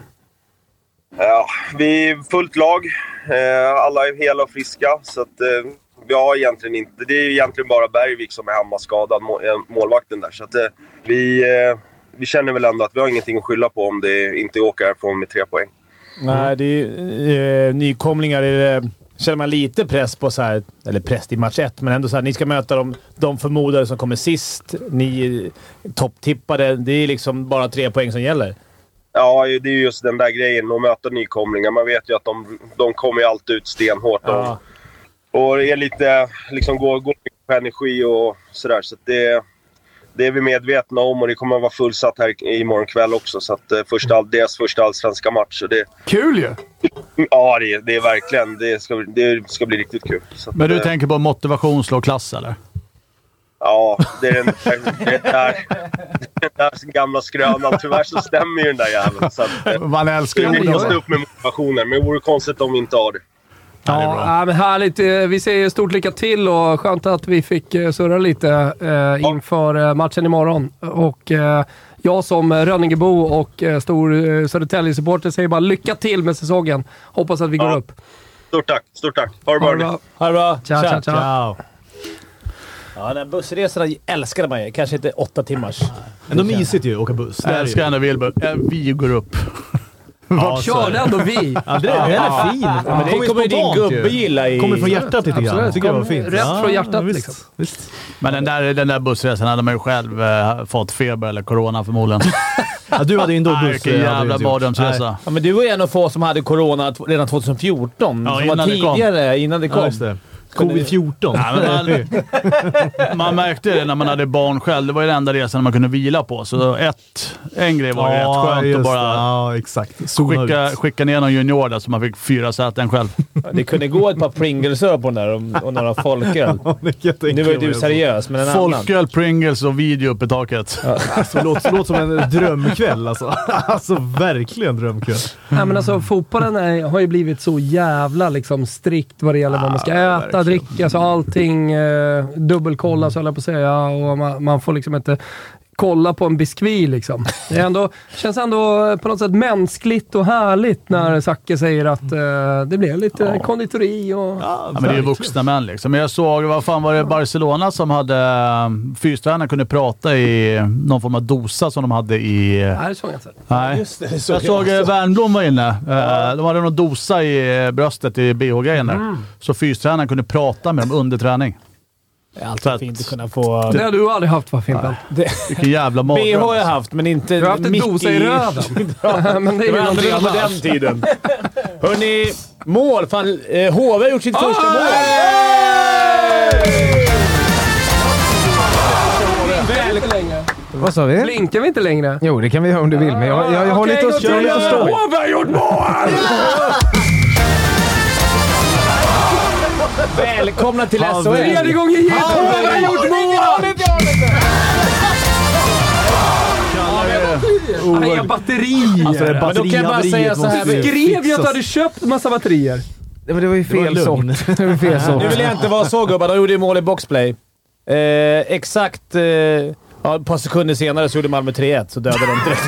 Speaker 7: ja, vi är fullt lag. Eh, Alla är hela och friska. Så att, eh, vi har egentligen inte, det är egentligen bara Bergvik som är hemmaskadad, må- eh, målvakten där. Så att, eh, vi, eh, vi känner väl ändå att vi har ingenting att skylla på om det inte åker härifrån med tre poäng.
Speaker 3: Nej, det är ju, eh, nykomlingar. Är det, känner man lite press på så här, eller press i match ett, men ändå så här, ni ska möta de, de förmodade som kommer sist. Ni är topptippade. Det är liksom bara tre poäng som gäller.
Speaker 7: Ja, det är ju just den där grejen att möta nykomlingar. Man vet ju att de, de kommer ju alltid ut stenhårt. De-
Speaker 3: Ja.
Speaker 7: Och det är lite, liksom går, går mycket på energi och sådär. Så att det, det är vi medvetna om och det kommer att vara fullsatt här i- imorgon kväll också. Så att eh, första, all- deras första allsvenska match. Och det,
Speaker 1: Kul ju!
Speaker 7: ja, det, det är verkligen. Det ska, bli- det ska bli riktigt kul. Så att,
Speaker 2: Men du
Speaker 7: eh,
Speaker 2: tänker på motivation slår klass, eller?
Speaker 7: Ja, det är den där, det är den där, den där gamla skrönan. Tyvärr så stämmer ju den där jäveln. Så att, eh,
Speaker 2: Man älskar
Speaker 7: vi
Speaker 2: ju
Speaker 1: Jo,
Speaker 7: måste
Speaker 1: jo.
Speaker 7: stå upp med motivationen, men det vore konstigt om vi inte har det.
Speaker 2: det är bra.
Speaker 1: Ja, ja, men härligt. Eh, Vi säger stort lycka till och skönt att vi fick eh, surra lite eh, inför eh, matchen imorgon. Och eh, jag som eh, Rönningebo och eh, stor eh, Södertälje-supporter säger bara lycka till med säsongen. Hoppas att vi går
Speaker 7: Ja.
Speaker 1: upp.
Speaker 7: Stort tack! Stort tack! Ha det
Speaker 1: Ha
Speaker 7: bra!
Speaker 1: det
Speaker 7: ni.
Speaker 1: bra.
Speaker 3: Ha det bra!
Speaker 1: Tja, tja, tja.
Speaker 3: Ja, den här bussresorna älskade man ju. Kanske inte åtta timmars.
Speaker 4: Ändå mysigt ju att åka buss. Det
Speaker 2: Jag
Speaker 4: är det ju.
Speaker 2: älskar ändå Wilbur. Eh, Vi går upp.
Speaker 4: Ja, så är
Speaker 1: Körde
Speaker 4: det.
Speaker 1: ändå vi.
Speaker 4: Ja, det är, den är fin.
Speaker 3: Ja, men det kommer ju din gubbe gilla i...
Speaker 4: Kommer från hjärtat lite grann.
Speaker 1: Absolut.
Speaker 4: Tycker jag var
Speaker 1: Kommer
Speaker 4: fint.
Speaker 1: rätt från hjärtat,
Speaker 4: ja, visst,
Speaker 1: liksom.
Speaker 4: Visst.
Speaker 2: Men den där, den där bussresan hade man ju själv eh, fått feber eller corona förmodligen.
Speaker 4: <laughs> Ja, du hade ju ändå buss.
Speaker 2: Nej, Vilken
Speaker 4: eh, hade du
Speaker 2: jävla
Speaker 4: inte gjort. Nej.
Speaker 2: mardrömsresa.
Speaker 3: Ja, men du var ju en av få som hade corona t- redan 2014.
Speaker 2: Ja,
Speaker 3: som var
Speaker 2: innan det kom.
Speaker 3: tidigare, innan det kom.
Speaker 4: Ja, just det. Covid-14.
Speaker 2: Nej,
Speaker 3: <laughs>
Speaker 2: men man, man märkte det när man hade barn själv. Det var ju den enda resan man kunde vila på. Så ett, en grej var ju rätt skönt att
Speaker 4: just
Speaker 2: bara
Speaker 4: det. Ja, exakt. Zona
Speaker 2: skicka,
Speaker 4: ut.
Speaker 2: skicka ner någon junior där så man fick fyra säten själv.
Speaker 3: Ja, Det kunde gå ett par Pringlesar på den där och, och några folköl.
Speaker 4: Ja, det kan jag tänka
Speaker 3: Nu var ju
Speaker 4: mig.
Speaker 3: du seriös, men en annan.
Speaker 2: Folköl, Pringles och video uppe i taket.
Speaker 4: Alltså, låt, låt som en drömkväll alltså. <laughs> Alltså verkligen drömkväll.
Speaker 1: Nej, men alltså, fotbollen är, har ju blivit så jävla liksom, strikt vad det gäller vad man ska äta, dricka, alltså, allting eh, dubbelkollas höll jag på att säga. Och man, man får liksom inte kolla på en biskvi liksom. Det är ändå, känns ändå på något sätt mänskligt och härligt
Speaker 2: Mm.
Speaker 1: när Zacke säger att eh, det blev lite konditori och...
Speaker 4: Ja,
Speaker 2: Ja, men det är ju vuxna män liksom. Men jag såg, vad fan var det, Barcelona som hade... eh, Fystränaren kunde prata i någon form av dosa som de hade i... eh,
Speaker 1: Det här såg jag inte.
Speaker 2: Nej.
Speaker 3: Just det, det såg
Speaker 2: jag
Speaker 3: jag
Speaker 2: såg eh,
Speaker 3: också.
Speaker 2: Wernbloom var inne. Eh, De hade någon
Speaker 3: Mm.
Speaker 2: dosa i eh, bröstet i bh-grejen där. Så fystränaren kunde prata med dem under träning.
Speaker 3: Det är alltid fint att kunna få...
Speaker 1: Det har du aldrig haft va, Fimpen?
Speaker 3: Det,
Speaker 2: Vilken
Speaker 3: <laughs>
Speaker 2: jävla
Speaker 3: BH har jag
Speaker 2: mardröm. alltså.
Speaker 3: haft, men inte
Speaker 1: Du har haft en
Speaker 3: mitt
Speaker 1: dosa i röven. <laughs>
Speaker 3: <laughs>
Speaker 1: Ja, men det är
Speaker 3: Det
Speaker 1: ju
Speaker 3: var
Speaker 1: någonting
Speaker 3: annorlunda på
Speaker 1: annat.
Speaker 3: den tiden. Hörni, mål. Fan, eh, HV har gjort sitt första mål.
Speaker 6: Vad sa vi?
Speaker 1: Blinkar vi inte längre? Ah,
Speaker 6: Jo, det kan vi göra om du vill, men jag, jag, jag har
Speaker 1: Okej,
Speaker 6: lite
Speaker 1: gå
Speaker 6: att, jag har
Speaker 1: till
Speaker 6: lite att stå i.
Speaker 1: Åby har gjort mål!
Speaker 3: Välkomna till
Speaker 1: Tredje
Speaker 3: SHL!
Speaker 1: gången gillt! Åby har gjort mål! Nej, jag batterier!
Speaker 4: Alltså, det är
Speaker 3: Men då kan jag bara
Speaker 4: batterihaveriet
Speaker 3: säga så här,
Speaker 4: måste ju
Speaker 1: Skrev ju att du
Speaker 4: fixas.
Speaker 1: hade köpt massa batterier.
Speaker 6: Nej, men det var ju fel
Speaker 4: Det var
Speaker 6: sort.
Speaker 4: lugn.
Speaker 1: <laughs>
Speaker 6: Det var fel sort.
Speaker 3: Nu vill jag inte vara så gubbar. De gjorde ju mål i boxplay. Eh, exakt eh, ja, ett par sekunder senare så gjorde Malmö 3-1, så dödade de direkt.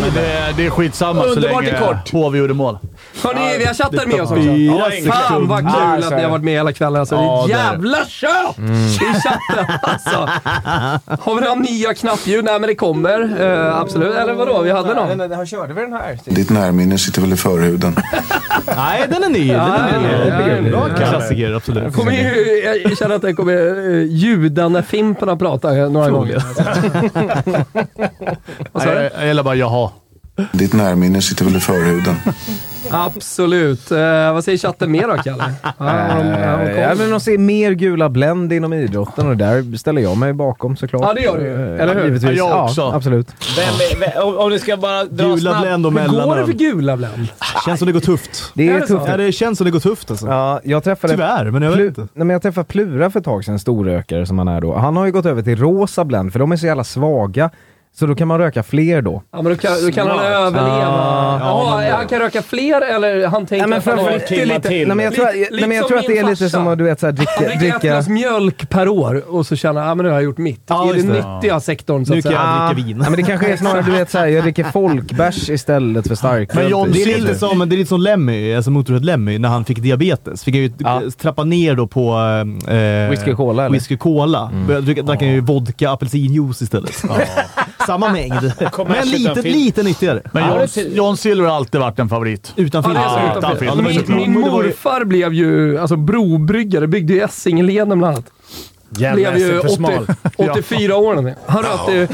Speaker 2: Men det, det är skitsamma så
Speaker 3: Underbart
Speaker 2: länge
Speaker 3: i kort.
Speaker 2: HV gjorde mål.
Speaker 1: Hörni, vi har chattar med oss också.
Speaker 2: Fyra
Speaker 1: Fan vad kul
Speaker 6: Ah,
Speaker 1: att
Speaker 6: så
Speaker 1: ni
Speaker 6: är
Speaker 1: har
Speaker 6: det.
Speaker 1: varit med hela kvällen. Alltså,
Speaker 2: Ja,
Speaker 1: det
Speaker 2: det
Speaker 1: är
Speaker 2: är det.
Speaker 1: jävla kött i chatten alltså. Har vi några nya knappljud? Nej, men det kommer. Eh, absolut. Eller vadå? Vi hade någon.
Speaker 6: Har körde vi den här?
Speaker 5: Ditt närminne sitter väl i förhuden?
Speaker 4: Nej, den är ny. Den
Speaker 1: Ja, ja,
Speaker 4: är
Speaker 1: ja,
Speaker 4: ny. Bra
Speaker 1: ja.
Speaker 4: klassiker, absolut.
Speaker 1: Kommer ju, jag känner att den kommer eh, ljuda när Fimpen har pratat eh, några gånger.
Speaker 4: alltså.
Speaker 1: Vad sa du?
Speaker 2: Jag jag gillar bara jaha.
Speaker 5: Ditt närminne sitter väl i förhuden?
Speaker 1: <laughs> Absolut. Eh, vad säger chatten mer då,
Speaker 4: Eh,
Speaker 1: Kalle? Ah, Ja, har de- har de koll?
Speaker 6: Eh, Ja, men de ser mer gula Blend inom idrotten och där ställer jag mig bakom såklart.
Speaker 1: Ja, det gör du ju.
Speaker 6: Eh,
Speaker 1: Eller hur?
Speaker 6: Givetvis.
Speaker 2: Ja, jag
Speaker 6: Ja,
Speaker 2: också.
Speaker 6: absolut.
Speaker 3: Vem, vem, om, om ni ska bara dra
Speaker 4: Gula
Speaker 3: snabbt.
Speaker 4: Blend och
Speaker 1: Hur går det för
Speaker 4: mellanöl.
Speaker 1: gula Blend?
Speaker 4: Känns som det går tufft.
Speaker 6: Det är,
Speaker 1: Är det så?
Speaker 6: tufft.
Speaker 4: Ja, det känns som det går tufft alltså.
Speaker 6: Ja, jag träffade...
Speaker 4: Tyvärr, men jag vet
Speaker 6: Plu-
Speaker 4: inte.
Speaker 6: Nej, men jag träffade Plura för ett tag sedan, storrökare som han är då. Han har ju gått över till rosa Blend, för de är så jävla svaga. Så då kan man röka fler då.
Speaker 1: Ja, men då kan, då kan han överleva. Jaha, han kan röka fler eller han tänker
Speaker 6: men
Speaker 1: att han
Speaker 6: framför-
Speaker 1: har-
Speaker 3: Timmar
Speaker 1: det är lite-
Speaker 3: till.
Speaker 6: Nej, men jag tror,
Speaker 1: Lite-
Speaker 6: nej, men
Speaker 1: lite
Speaker 6: jag tror
Speaker 1: som
Speaker 6: att det är
Speaker 1: min
Speaker 6: lite
Speaker 1: farsa.
Speaker 6: som att du vet såhär, dricka...
Speaker 1: Han dricker ett
Speaker 6: dricka
Speaker 1: glas mjölk per år och så känner han ah, men nu har jag gjort mitt.
Speaker 4: Ja,
Speaker 1: I
Speaker 4: just
Speaker 1: den
Speaker 4: det.
Speaker 1: nyttiga sektorn så
Speaker 4: Nu
Speaker 1: att
Speaker 4: kan
Speaker 1: säga.
Speaker 4: jag dricka vin.
Speaker 6: Ah, Nej, men det kanske är snarare du vet såhär, jag dricker folkbärs istället för starköl. typ.
Speaker 2: Men John
Speaker 4: Det är
Speaker 2: Silver-
Speaker 4: lite som, det är lite som Lemmy, alltså motorhead Lemmy, när han fick diabetes. Fick han ju eh,
Speaker 6: Ja.
Speaker 4: trappa ner då på... Eh,
Speaker 6: Whisky och cola, eller?
Speaker 4: Whisky och cola. Började dricka- Drack han ju
Speaker 2: <laughs>
Speaker 4: vodka apelsinjuice istället. Samma mängd, men
Speaker 3: utan
Speaker 4: lite,
Speaker 3: filter.
Speaker 4: lite nyttigare.
Speaker 2: Men
Speaker 3: Ja,
Speaker 2: John,
Speaker 3: det är-
Speaker 2: John Silver har alltid varit en favorit.
Speaker 4: Utan
Speaker 1: Ja, det
Speaker 4: filter.
Speaker 1: är så utan
Speaker 2: Ah, utan
Speaker 1: fel.
Speaker 2: fel.
Speaker 4: men
Speaker 1: min,
Speaker 4: såklart.
Speaker 1: min
Speaker 4: Men det var ju-
Speaker 1: morfar blev ju alltså, brobryggare, byggde ju Essingeleden bland annat.
Speaker 3: Jävla
Speaker 1: Blev ju
Speaker 3: SM för
Speaker 1: 80,
Speaker 3: smal.
Speaker 1: <laughs> 84 år eller någonting. Han rökte, ju-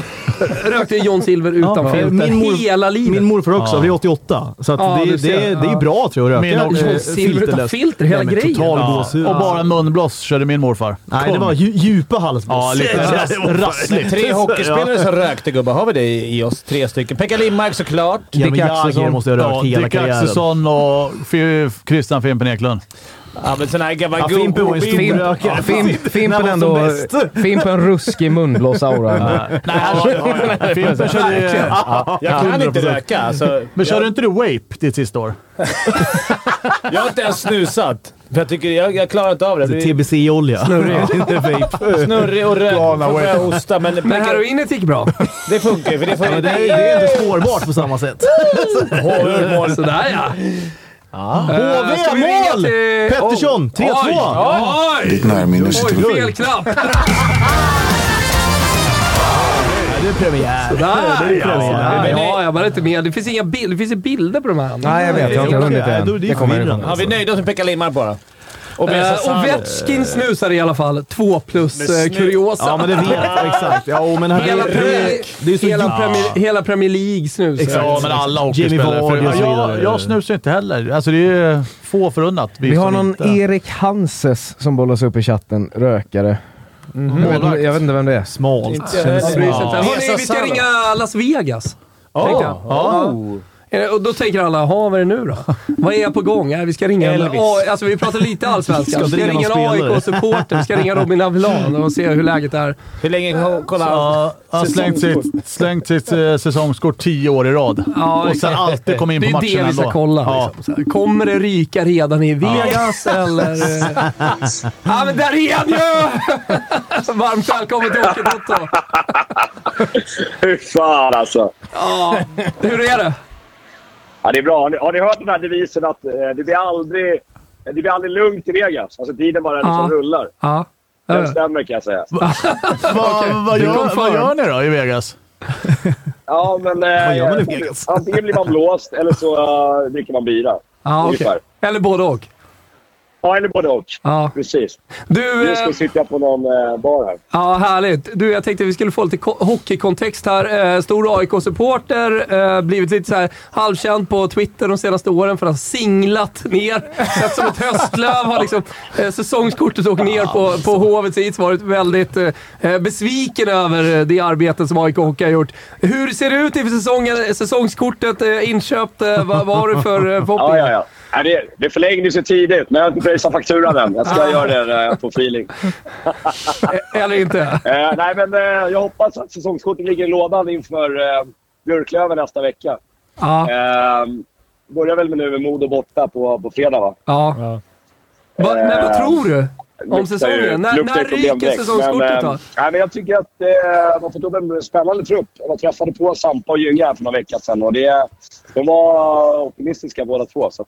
Speaker 1: rökte ju John Silver utan
Speaker 4: Ja,
Speaker 1: filter
Speaker 4: min mor-
Speaker 1: hela livet.
Speaker 4: Min morfar också, vi är 88. Så att
Speaker 1: Ja,
Speaker 4: det,
Speaker 1: du
Speaker 4: det,
Speaker 1: ser.
Speaker 4: det, är
Speaker 1: Ja.
Speaker 4: bra tror jag att
Speaker 2: Min
Speaker 4: röka.
Speaker 2: också.
Speaker 4: eh,
Speaker 1: Silver utan
Speaker 4: filterlöst.
Speaker 1: filter, hela
Speaker 4: Nej, men
Speaker 1: grejen.
Speaker 4: Total
Speaker 1: Ja.
Speaker 4: gåshud. Alltså,
Speaker 2: Och bara munblås körde min morfar.
Speaker 4: Nej,
Speaker 2: Kung.
Speaker 4: det var dju- djupa halsblås.
Speaker 2: <laughs> Ja, lite
Speaker 4: <laughs> Ras-
Speaker 2: Det var-
Speaker 4: rassligt.
Speaker 3: Tre hockeyspelare som rökte gubbar. Har vi det i i oss? Tre stycken. Pekka Lindmark såklart.
Speaker 4: Ja, men
Speaker 6: Dick
Speaker 4: Jagger
Speaker 6: Axelsson.
Speaker 4: måste jag ha
Speaker 2: Ja,
Speaker 4: rökt hela
Speaker 2: Dick
Speaker 4: karriären.
Speaker 2: Axelsson och F- Christian Fimpen Eklund.
Speaker 3: Ja, men sån här gammal
Speaker 4: Ja,
Speaker 3: go-
Speaker 4: Fimpen var ju
Speaker 3: godbit.
Speaker 4: stor
Speaker 6: Fimp,
Speaker 4: rökare.
Speaker 6: fimp,
Speaker 4: När
Speaker 6: fimpen
Speaker 4: var
Speaker 6: ändå...
Speaker 4: som bäst?
Speaker 6: Fimpen ruskig munblåsaura.
Speaker 2: Nej,
Speaker 4: alltså,
Speaker 3: <laughs>
Speaker 2: Fimpen körde ju...
Speaker 3: Jag kan inte röka. Alltså,
Speaker 2: Men körde inte du Wape ditt sista år?
Speaker 3: jag har inte ens snusat. För jag, tycker, jag, jag klarar inte av det. det.
Speaker 4: TBC-olja. Inte vape.
Speaker 3: blir Snurrig och rök. Får börja hosta, men,
Speaker 1: Men heroinet gick <laughs> bra.
Speaker 3: det funkar ju. För det får
Speaker 4: Men det, är, det är inte spårbart på samma sätt.
Speaker 3: Hårmål.
Speaker 1: Sådär ja. Eh,
Speaker 4: HV,
Speaker 1: ska vi ringa
Speaker 4: mål!
Speaker 1: till-
Speaker 4: Pettersson, 3-2!
Speaker 1: Oj, oj,
Speaker 5: Ditt närminne sitter väl...
Speaker 1: oj, fel knapp.
Speaker 3: <laughs>
Speaker 4: Ja, Det är premiär.
Speaker 1: Där,
Speaker 4: Det är premiär.
Speaker 1: Ja, ja, jag var inte med. Det finns inga bilder. Det finns ju bilder på de här.
Speaker 6: Nej, jag vet. Jag har inte hunnit
Speaker 4: Nej, då är
Speaker 6: än.
Speaker 4: det
Speaker 6: Det kommer jag
Speaker 4: förvirrande.
Speaker 3: Har
Speaker 6: ihåg.
Speaker 3: vi nöjda oss med Pekka Lindmark bara? Och
Speaker 1: Eh,
Speaker 3: Besa
Speaker 1: och
Speaker 3: Salo.
Speaker 1: Vetchkin snusar i alla fall. Två plus eh,
Speaker 3: snus.
Speaker 1: kuriosa.
Speaker 4: Ja, men det vet
Speaker 1: <laughs>
Speaker 4: jag. Exakt. Ja, och men här,
Speaker 1: Hela, Premier,
Speaker 4: det är så
Speaker 1: hela,
Speaker 4: djupt.
Speaker 1: Premier, hela Premier League snusar.
Speaker 2: Ja, men alla hockeyspelare.
Speaker 4: Jamie Vardy och
Speaker 2: För-
Speaker 4: så
Speaker 2: Ja,
Speaker 4: vidare.
Speaker 2: jag, jag snusar inte heller. Alltså det är ju få förunnat. Liksom
Speaker 6: Vi har någon
Speaker 2: inte-
Speaker 6: Erik Hanses som bollas upp i chatten. Rökare. Jag vet inte- Jag vet inte vem det är.
Speaker 4: Mhm. Smalt.
Speaker 1: Ja,
Speaker 4: Känns
Speaker 1: det bryr sig
Speaker 4: smalt.
Speaker 1: inte. Hörrni, vi ska
Speaker 3: Salo.
Speaker 1: ringa Las Vegas. tänkte jag.
Speaker 3: Oh.
Speaker 1: Eh, Och då tänker alla, ha vad är det nu då? Vad är jag på gång? Nej, vi ska ringa en,
Speaker 3: Elvis.
Speaker 1: oh, alltså, vi pratar lite allsvenskan.
Speaker 4: Ska
Speaker 1: Vi ska
Speaker 4: inte
Speaker 1: ringa
Speaker 4: ringa
Speaker 1: en
Speaker 4: någon spelare.
Speaker 1: AIK-supporter. Vi ska ringa Robin Avlan och se hur läget är.
Speaker 3: Hur länge kollar han?
Speaker 2: Ja, han har slängt sitt, slängt sitt eh, säsongskort tio år i rad.
Speaker 1: Ja,
Speaker 2: och sen
Speaker 1: exakt.
Speaker 2: alltid kom in
Speaker 1: Det
Speaker 2: på
Speaker 1: är
Speaker 2: matchen
Speaker 1: det vi ska
Speaker 2: ändå.
Speaker 1: kolla.
Speaker 2: Ja.
Speaker 1: Liksom. Så här, Kommer det ryka redan i Vegas eller... eh? ja, men där är han ju! Varmt välkommen till Hockeytotto!
Speaker 8: <laughs> Fy fan alltså.
Speaker 1: Ja, hur är det?
Speaker 8: Ja, det är bra. Har ni, har ni hört den här devisen att eh, det, blir aldrig, det blir aldrig lugnt i Vegas? Alltså tiden bara liksom
Speaker 1: Ja.
Speaker 8: rullar.
Speaker 1: Ja.
Speaker 8: Den stämmer kan jag säga. <laughs>
Speaker 2: Va, vad,
Speaker 1: du
Speaker 2: gör,
Speaker 1: kom
Speaker 2: vad
Speaker 1: för.
Speaker 2: gör ni då i Vegas?
Speaker 8: Ja, men... Eh,
Speaker 4: Vad gör man i
Speaker 8: <laughs>
Speaker 4: Vegas?
Speaker 8: Antingen blir man blåst eller så eh, dricker man bira.
Speaker 1: Ja, okej.
Speaker 8: Ungefär.
Speaker 1: Eller både och.
Speaker 8: Ja, eller både och.
Speaker 1: Ja.
Speaker 8: Precis.
Speaker 1: Du,
Speaker 8: Nu
Speaker 1: eh,
Speaker 8: ska vi sitta på någon eh, bar här.
Speaker 1: ja, härligt. Du, jag tänkte vi skulle få lite ko- hockeykontext här. Eh, stor AIK-supporter, eh, blivit lite så här halvkänd på Twitter de senaste åren för att ha singlat ner. Sett som ett höstlöv har liksom eh, säsongskortet åkt ner på, på Hovets is. Varit väldigt eh, besviken över eh, det arbete som AIK Hockey har gjort. Hur ser det ut inför säsongen? Säsongskortet eh, inköpt. Eh, vad, vad har du för eh, förhoppningar?
Speaker 8: Ja, ja, ja. Nej, det, det förlängdes ju tidigt, men jag har inte pröjsat fakturan än. Jag ska göra det när jag får feeling.
Speaker 1: Ah. Eller inte?
Speaker 8: Eh, nej, men eh, jag hoppas att säsongskortet ligger i lådan inför eh, Björklöven nästa vecka.
Speaker 1: Ja.
Speaker 8: Eh, börjar väl med nu med Modo borta på, på fredag, va?
Speaker 1: ja.
Speaker 3: Ja.
Speaker 1: Va, men vad
Speaker 8: Eh,
Speaker 1: tror du? Om
Speaker 8: Luktar
Speaker 1: säsongen?
Speaker 8: ju-
Speaker 1: när
Speaker 8: luktar ju
Speaker 1: när
Speaker 8: problem
Speaker 1: ryker
Speaker 8: direkt,
Speaker 1: säsongskortet
Speaker 8: men,
Speaker 1: då?
Speaker 8: eh, Nej, men jag tycker att eh, man får upp en spännande trupp. Jag träffade på Sampa och Gynge här för några veckor sedan och det, de var optimistiska båda två. Så att,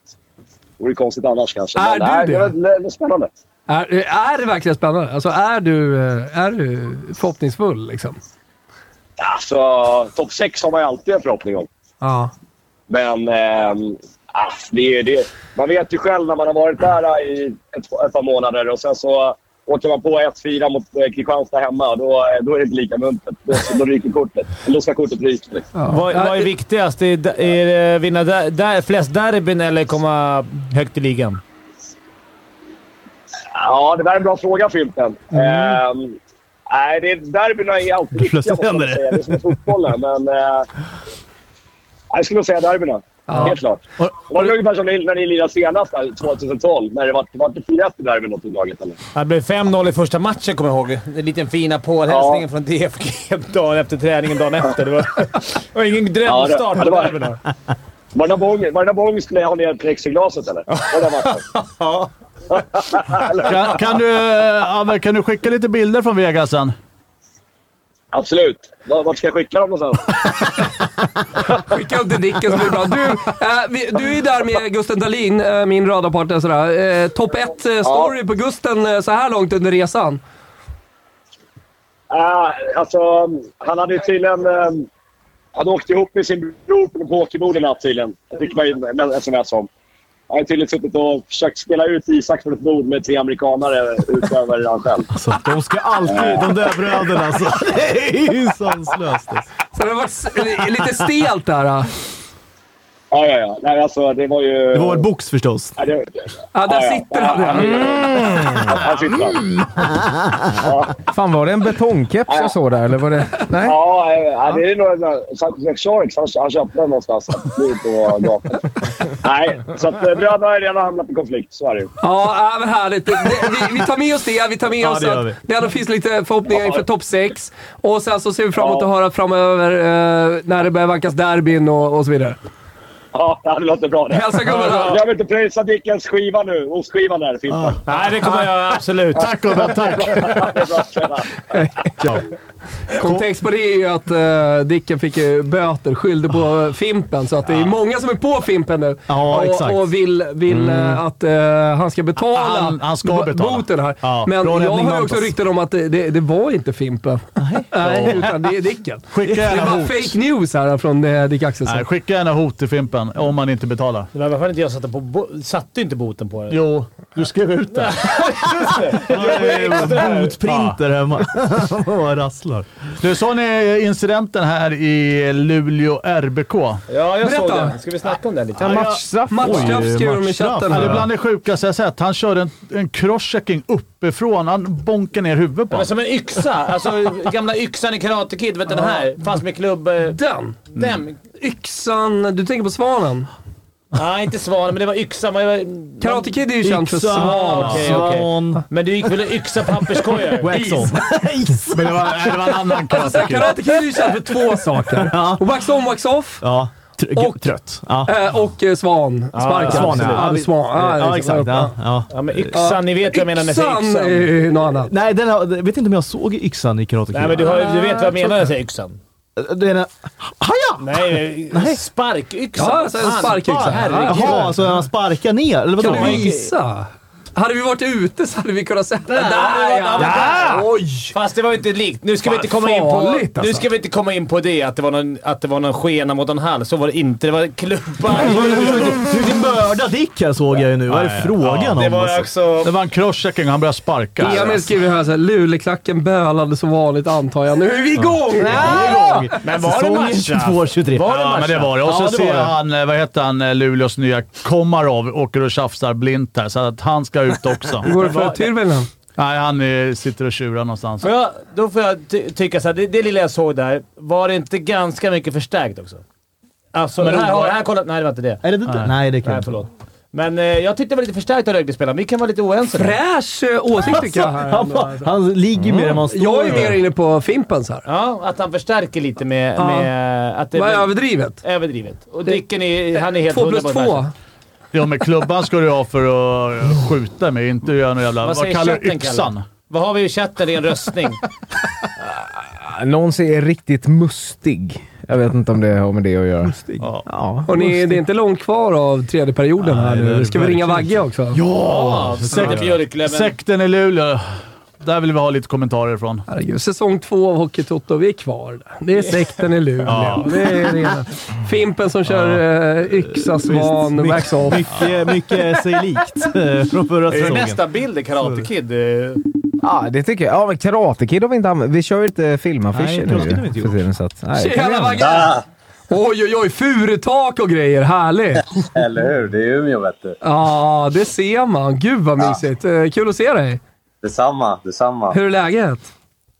Speaker 8: det vore konstigt annars kanske. men,
Speaker 1: Är du
Speaker 8: nej,
Speaker 1: det?
Speaker 8: Det var det var spännande.
Speaker 1: Är, är det verkligen spännande? Alltså, är du, eh, är du förhoppningsfull liksom?
Speaker 8: Alltså, topp 6 har man ju alltid en förhoppning om.
Speaker 1: Ja.
Speaker 8: Men ehm, ah, det är, det, man vet ju själv när man har varit där eh, i ett, ett par månader och sen så åker man på 1-4 mot eh, Kristianstad hemma. Då, eh, då är det inte lika muntert. Då, då ryker kortet. Då ska kortet ryka. liksom.
Speaker 3: Vad, vad är viktigast? Är, det- är det vinna där, där, flest derbyn eller komma högt i ligan?
Speaker 8: Ja, det där är en bra fråga, Fimpen.
Speaker 2: Mm.
Speaker 8: Ehm, nej, det, derbyna är
Speaker 2: <laughs>
Speaker 8: alltid viktiga,
Speaker 2: flöt
Speaker 8: måste man
Speaker 2: händer det.
Speaker 8: säga. Det är som i fotbollen, men... eh, jag skulle nog säga derbyna. Helt klart. Det var det ungefär som ni- när ni lirade senast, där, 2012. När det var, var det 4-1 i derbyn åt laget, eller?
Speaker 3: Det blev 5-0 i första matchen, kommer jag ihåg. Den liten fina påhälsningen
Speaker 8: Ja.
Speaker 3: från DFG <laughs> dagen efter träningen, dagen
Speaker 8: <laughs>
Speaker 3: efter. Det var, det var ingen drömstart
Speaker 8: Ja,
Speaker 3: på
Speaker 8: det- ja, det var-
Speaker 3: derbyna.
Speaker 8: Var det någon gång- var det någon gång skulle jag ha ner plexiglaset, eller? Var det matchen?
Speaker 2: <laughs>
Speaker 8: <laughs>
Speaker 2: Kan, kan, du, eh, Aver, kan du skicka lite bilder från Vegas sen?
Speaker 8: Absolut. Var- Vart ska jag skicka dem någonstans?
Speaker 1: Skicka upp till Dicken så blir det bra. Du, eh, vi, du är där med Gusten Dahlin, eh, min radarpartner. Sådär. Eh, Topp 1-story på Gusten eh, så här långt under resan.
Speaker 8: Ah, alltså, han hade ju tydligen... Eh, han åkte ihop med sin bror på pokerbord i natt tydligen. Det fick man ju en sms om. Han har tydligen suttit och försökt spela ut Isak från ett bord med tre amerikanare utöver han själv.
Speaker 4: Alltså,
Speaker 2: Så de ska alltid... De där bröderna alltså. <laughs> Det är ju sanslöst. alltså.
Speaker 1: Så det har varit s- li- lite stelt där. eh.
Speaker 8: Ja, ja, ja. Nej, alltså, det var ju...
Speaker 4: Det var väl box förstås?
Speaker 8: Ja, det-
Speaker 1: Ja, där sitter han.
Speaker 8: Han, han sitter där.
Speaker 2: Mm.
Speaker 6: Fan, var det en betongkeps jag såg där, eller var det... Nej?
Speaker 8: Ja, eh, ja, det är nog Sankt Sharks. Han, han köpte den någonstans. Han blir på gatan.
Speaker 3: <laughs>
Speaker 8: Nej, så att eh, bröderna har ju redan hamnat i konflikt. Så är det ju.
Speaker 1: Ja, äh, men härligt. Det, det, vi, vi tar med oss det. Vi tar med
Speaker 2: Ja,
Speaker 1: oss
Speaker 2: det gör
Speaker 1: att
Speaker 2: vi.
Speaker 1: det ändå finns lite förhoppningar inför topp 6. Och sen så ser vi fram emot
Speaker 8: Ja.
Speaker 1: att höra framöver eh, när det börjar vankas derbyn och, och så vidare.
Speaker 8: Ja, det låter bra det.
Speaker 1: Hälsa gubbarna.
Speaker 8: Jag vill inte pröjsa Dickens skiva nu. Ostskivan där, Fimpen.
Speaker 3: Nej, det kommer jag göra. Absolut.
Speaker 1: <laughs>
Speaker 2: Tack gubben,
Speaker 8: <laughs>
Speaker 2: tack!
Speaker 8: Det är bra att känna.
Speaker 1: Kontext på det är ju att eh, Dicken fick ju böter, skyllde på eh, Fimpen. Så att det är många som är på Fimpen nu
Speaker 2: Ja, exakt. Mm.
Speaker 1: och, och vill, vill eh, att eh, han ska betala,
Speaker 2: Han- han ska
Speaker 1: bo-
Speaker 2: betala.
Speaker 1: boten här.
Speaker 2: Ja,
Speaker 1: Men
Speaker 2: bra
Speaker 1: jag
Speaker 2: räddning,
Speaker 1: har ju också
Speaker 2: Mampus.
Speaker 1: rykten om att det, det, det var inte Fimpen. Nej. utan det är Dicken.
Speaker 2: Skicka
Speaker 1: det
Speaker 2: gärna
Speaker 1: var
Speaker 2: hot.
Speaker 1: fake news här från eh, Dick Axelsson.
Speaker 2: Nej, skicka gärna hot till Fimpen om man inte betalar.
Speaker 3: Det var varför inte jag satte, på bo- satte inte boten på det.
Speaker 2: Jo, du skrev ut det. <laughs>
Speaker 4: Botprinter hemma. Vad rasslar.
Speaker 2: Du, såg ni incidenten här i Luleå RBK?
Speaker 3: <laughs> Ja, jag såg
Speaker 1: Berätta.
Speaker 3: den. Ska vi snacka om den lite?
Speaker 6: En matchstraff?
Speaker 1: Matchstraff skriver de i chatten.
Speaker 2: Ja, det är
Speaker 1: här.
Speaker 2: bland det sjukaste jag sett. Han körde en, en crosschecking uppifrån. Han bonkade ner huvudet på
Speaker 3: Men
Speaker 2: honom.
Speaker 3: som en yxa. Alltså gamla yxan i Karate Kid. Vet du den här? Fast med klubb... eh,
Speaker 1: Den!
Speaker 3: Den.
Speaker 1: Yxan, du tänker på svanen?
Speaker 3: Nej, inte svanen, men det var yxa. Men det var,
Speaker 1: Karate Kid är ju känd för
Speaker 3: Yxa.
Speaker 1: svan.
Speaker 3: Okej, okej. Men du gick väl och yxa papperskojar?
Speaker 4: <laughs> Wax on.
Speaker 2: Men det var, nej, det var en annan karate kid.
Speaker 1: Karate Kid är ju känd för två saker. Och wax on, wax off.
Speaker 4: Ja. Tr-
Speaker 1: Och-
Speaker 4: trött. Ja.
Speaker 1: eh, Och eh, svan. Sparkar.
Speaker 4: svan, ja.
Speaker 1: ja. Svan. Ja,
Speaker 4: Ja,
Speaker 1: liksom.
Speaker 4: exakt. Ja, ja.
Speaker 3: Ja, men yxan. Ni vet vad jag menar när jag säger
Speaker 1: Yxan är
Speaker 3: yxan.
Speaker 1: ju något annat.
Speaker 4: Nej, den har, jag vet inte om jag såg yxan i Karate Kid.
Speaker 3: Nej, men du, har, du vet vad jag menar när jag säger yxan.
Speaker 4: Det är den... Haja!
Speaker 3: Nej, nej. sparkyxa.
Speaker 1: Ja, alltså en
Speaker 3: Fan,
Speaker 1: sparkyxa.
Speaker 3: herregud.
Speaker 4: Jaha, så han sparkar ner? Eller vadå?
Speaker 1: Kan du visa? Hade vi varit ute så hade vi kunnat sett det. Där
Speaker 3: ja.
Speaker 1: ja! Oj!
Speaker 3: Fast det var ju inte likt. Nu ska, vi
Speaker 1: Fan,
Speaker 3: inte komma in på,
Speaker 1: farligt, alltså.
Speaker 3: nu ska vi inte komma in på det, att det var någon, att det var någon skena mot en hall. Så var det inte. Det var klubbar.
Speaker 4: Du blev mördad Dick här såg jag ju nu. Vad är det frågan om?
Speaker 3: det var
Speaker 4: alltså?
Speaker 3: också...
Speaker 2: Det var en crosschecking och han började sparka.
Speaker 1: Emil skriver här såhär, Luleklacken bölade som vanligt antar jag. Nu är vi igång! Ja!
Speaker 3: Men var det
Speaker 4: Säsongen
Speaker 3: matcha?
Speaker 4: 22-23.
Speaker 3: Var det
Speaker 2: Ja,
Speaker 3: matcha?
Speaker 2: men det var det. Och så
Speaker 3: Ja, det
Speaker 2: ser
Speaker 3: var det.
Speaker 2: han, eh, vad heter han, eh, Luleås nya Komarov åker och tjafsar blint här, så att han ska ut också.
Speaker 1: Hur går det för Tyrväinen?
Speaker 2: Nej, han eh, sitter och tjurar någonstans.
Speaker 3: Får jag, då får jag ty tycka såhär, det, det lilla jag såg där, var det inte ganska mycket förstärkt också? Alltså,
Speaker 2: Men
Speaker 3: här,
Speaker 2: det var-
Speaker 3: har- här, kolla, nej det var inte det.
Speaker 4: Är det inte? Ah, Nej, det kan jag
Speaker 3: Nej,
Speaker 4: inte.
Speaker 3: förlåt. Men eh, jag tyckte det var lite förstärkt av Rögle-spelarna. Vi kan vara lite oense. där.
Speaker 1: Fräsch eh, åsikt tycker jag här.
Speaker 4: <laughs> Han,
Speaker 1: ändå,
Speaker 4: bara-
Speaker 1: alltså.
Speaker 4: han ligger mer än man står.
Speaker 1: Mm. Jag är mer inne på Fimpens här.
Speaker 3: Ja, att han förstärker lite med...
Speaker 1: Ja.
Speaker 3: med eh, att det
Speaker 1: Vad är överdrivet?
Speaker 3: överdrivet. Och Dicken är, han är helt
Speaker 1: Två plus
Speaker 3: underbar.
Speaker 1: två.
Speaker 2: Ja, men klubban ska du ha för att eh, skjuta med, inte göra någon jävla...
Speaker 3: Vad
Speaker 2: Vad,
Speaker 3: säger
Speaker 2: kallar du
Speaker 3: chatten, Kalle?
Speaker 2: yxan?
Speaker 3: Vad har vi i chatten? Det är
Speaker 2: <laughs>
Speaker 3: en röstning.
Speaker 6: Någon ser riktigt mustig. Jag vet inte om det har med det att göra. Mustig?
Speaker 2: Ja.
Speaker 6: Ja.
Speaker 1: Hörrni, det är inte långt kvar av tredje perioden här
Speaker 2: Nej, det är
Speaker 1: nu.
Speaker 2: det
Speaker 1: Ska vi ringa Vagge också?
Speaker 2: Ja!
Speaker 3: Ah, Sekt- Björklöven.
Speaker 2: Sekten i Luleå. Där vill vi ha lite kommentarer ifrån.
Speaker 1: Herregud, säsong två av Hockey Toto. Vi är kvar där. Det är sekten i Luleå.
Speaker 2: Ja.
Speaker 1: Det är redan. Fimpen som kör eh, yxa, svan, wax off. <laughs>
Speaker 4: Mycket, mycket sig likt eh, från förra
Speaker 3: Är det
Speaker 4: säsongen.
Speaker 3: nästa bild är Karate Kid? Eh,
Speaker 6: Ja, det tycker jag. Ja, men Karate Kid har vi inte använt. Vi kör ju inte filmaffischer
Speaker 4: Nej,
Speaker 6: nu
Speaker 4: Karate Kid har vi inte
Speaker 6: ju för
Speaker 4: gjort.
Speaker 6: tiden. Så att, nej, det kan vi
Speaker 1: Tjena
Speaker 6: göra.
Speaker 1: Vagge! Oj, oj, oj. Furutak och grejer. Härligt!
Speaker 9: Eller hur? Det är Umeå, vet du.
Speaker 1: Ja, det ser man. Gud vad mysigt. Eh, Kul att se dig.
Speaker 9: Detsamma, detsamma.
Speaker 1: Hur är läget?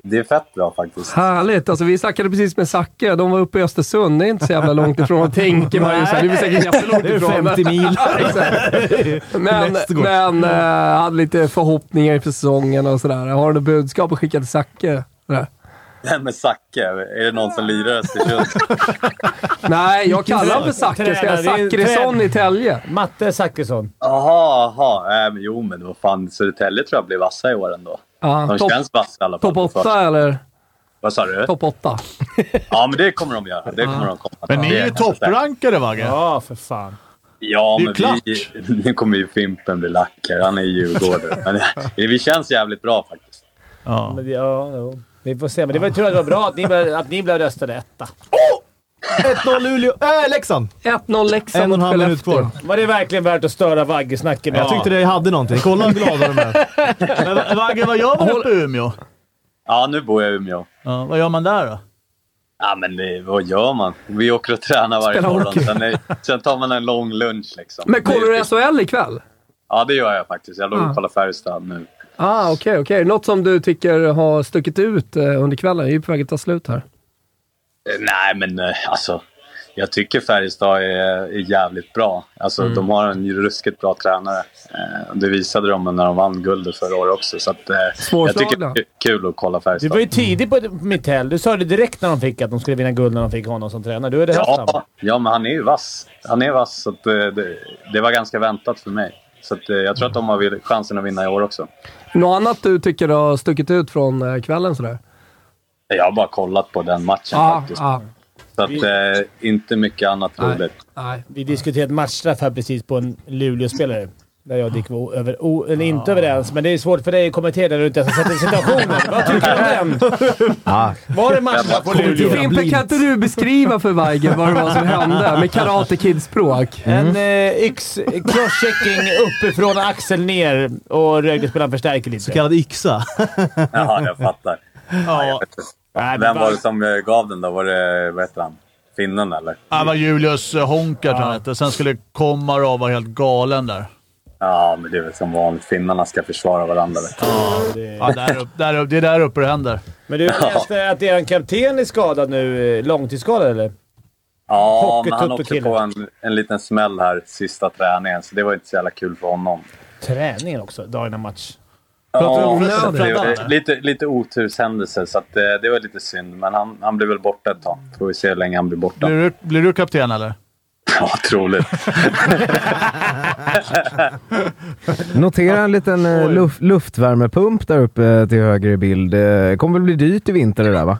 Speaker 9: Det är fett bra
Speaker 1: <laughs>
Speaker 9: faktiskt.
Speaker 1: Härligt. Alltså, vi snackade precis med Zacke. De var uppe i Östersund. Det är inte så jävla långt
Speaker 4: <laughs>
Speaker 1: ifrån, tänker man ju. Så här, Det är säkert jättelångt
Speaker 4: Det är
Speaker 1: ifrån. <laughs>
Speaker 4: 50 mil. <laughs>
Speaker 1: Exakt. Men,
Speaker 4: Västergård.
Speaker 1: men eh, hade lite förhoppningar inför säsongen och sådär. Har du något budskap att skicka till Zacke? Sådär.
Speaker 9: Nej, men Zacke. Är det någon som lirar i Östersund?
Speaker 1: Nej, jag kallar honom för Zacke. Ska jag
Speaker 3: Tränare, det är en
Speaker 1: Zackrisson
Speaker 3: trän-
Speaker 1: i Tälje?
Speaker 3: Matte Zachrisson.
Speaker 9: Jaha, jaha. Äh, men jo, men vad fan. Södertälje tror jag blir vassa i år ändå.
Speaker 1: Ja,
Speaker 9: De
Speaker 1: topp
Speaker 9: känns vassa i alla fall.
Speaker 1: top 8 eller?
Speaker 9: Vad sa du?
Speaker 1: Topp 8.
Speaker 9: Ja, men det kommer de göra. Det kommer de komma.
Speaker 2: Men ni är ju topprankade, Vagge.
Speaker 3: Ja,
Speaker 1: Ah,
Speaker 3: för fan.
Speaker 9: Ja,
Speaker 2: Det är
Speaker 9: men
Speaker 2: klart.
Speaker 9: vi... Nu kommer ju Fimpen bli lack här. Han är ju djurgårdare. Men eh, vi känns jävligt bra faktiskt.
Speaker 2: Ja.
Speaker 3: Men, det- ja, jo. Vi får se. Men det var ju tur att det var bra att ni blev, att ni blev röstade etta.
Speaker 4: 1-0 Luleå. Äh, Leksand!
Speaker 1: 1-0 Leksand
Speaker 4: En och en
Speaker 1: mot
Speaker 4: halv minut
Speaker 1: Skellefteå.
Speaker 4: kvar.
Speaker 3: Var det verkligen värt att störa Vagge-snacket med?
Speaker 4: Jag tyckte det hade någonting. Kolla hur glada de
Speaker 1: <laughs>
Speaker 4: är.
Speaker 2: Men Va- Vagge, vad gör man uppe i Umeå?
Speaker 9: Ja, nu bor jag i Umeå.
Speaker 2: Ja, vad gör man där då?
Speaker 9: Ja, men det, vad gör man? Vi åker och tränar varje
Speaker 1: Spelar
Speaker 9: morgon.
Speaker 1: hockey.
Speaker 9: Sen, är, sen tar man en lång lunch liksom.
Speaker 1: Men kollar
Speaker 9: Det-
Speaker 1: du SHL ikväll?
Speaker 9: Ja, det gör jag faktiskt. Jag låg
Speaker 1: Ja.
Speaker 9: och kollade Färjestad nu. Eh,
Speaker 1: Ah, okej, okej. Något som du tycker har stuckit ut eh, under kvällen? Vi är ju på väg att ta slut här.
Speaker 9: Eh, Nej, men eh, alltså. Jag tycker Färjestad är, är jävligt bra. Alltså,
Speaker 1: Mm.
Speaker 9: De har en ruskigt bra tränare. Eh, Det visade de när de vann guldet förra året också. Så att, eh, jag tycker
Speaker 1: Svårslagna.
Speaker 9: det är kul att kolla
Speaker 3: Du
Speaker 9: Färjestad.
Speaker 3: var ju tidig på Mittell. Du sa det direkt när de fick att de skulle vinna guld när de fick honom som tränare. Du är det här
Speaker 9: Ja, ja, men han är ju vass. Han är vass, så att, eh, det, det var ganska väntat för mig. Så att, eh, jag tror att de har vill- chansen att vinna i år också.
Speaker 1: Något annat du tycker har stuckit ut från eh, kvällen sådär?
Speaker 9: Jag har bara kollat på den matchen
Speaker 1: Ja,
Speaker 9: faktiskt.
Speaker 1: ja.
Speaker 9: Så att, eh, inte mycket annat roligt.
Speaker 1: Ah. Nej.
Speaker 3: Vi diskuterade ett matchstraff här precis på en Luleå-spelare. Där jag och Dick var o- över, o, eller inte överens, men det är svårt för dig att kommentera när du inte ens har sett situationen. <laughs> Vad tycker du om
Speaker 6: <laughs>
Speaker 3: den? Var det matchstraff på Luleå?
Speaker 1: Fimpen, kan inte du beskriva för Weiger vad det var som hände med Karate Kid-språk?
Speaker 6: Mm.
Speaker 3: En eh, yx, crosschecking uppifrån axel ner och Rögle-spelaren förstärker lite.
Speaker 4: Så kallad
Speaker 3: <laughs>
Speaker 4: yxa.
Speaker 9: Ja, jag fattar. Ja, jag vet inte. Vem var det som eh, gav den då? Var det, vad heter han? Finnen eller?
Speaker 2: Ja, Det var Julius eh, Honkart han hette. Sen skulle Komarov vara helt galen där.
Speaker 9: Ja, men det är väl som vanligt. Finnarna ska försvara varandra. Vet du.
Speaker 2: Ja, där upp, där upp, det är där uppe det händer.
Speaker 3: Men du läste att er kapten är skadad nu. eh, Långtidsskadad eller?
Speaker 9: Ja, men han åkte
Speaker 3: Hockeytutto-kille.
Speaker 9: på en, en liten smäll här sista träningen, så det var inte så jävla kul för honom.
Speaker 3: Träningen också, dagen innan match.
Speaker 9: Ja,
Speaker 2: om
Speaker 9: så att det
Speaker 2: nöden?
Speaker 9: var- lite, lite oturshändelser, så att, eh, det var lite synd. Men han, han blir väl borta ett tag. Får vi se hur länge han
Speaker 6: <laughs>
Speaker 9: blir borta.
Speaker 2: Blir du, blir du kapten eller?
Speaker 9: Ja, troligt.
Speaker 6: Notera en liten eh,
Speaker 2: Oj.
Speaker 4: <laughs>
Speaker 6: luf- luftvärmepump där uppe eh, till höger i bild. Eh, kommer väl bli dyrt i vinter det där va?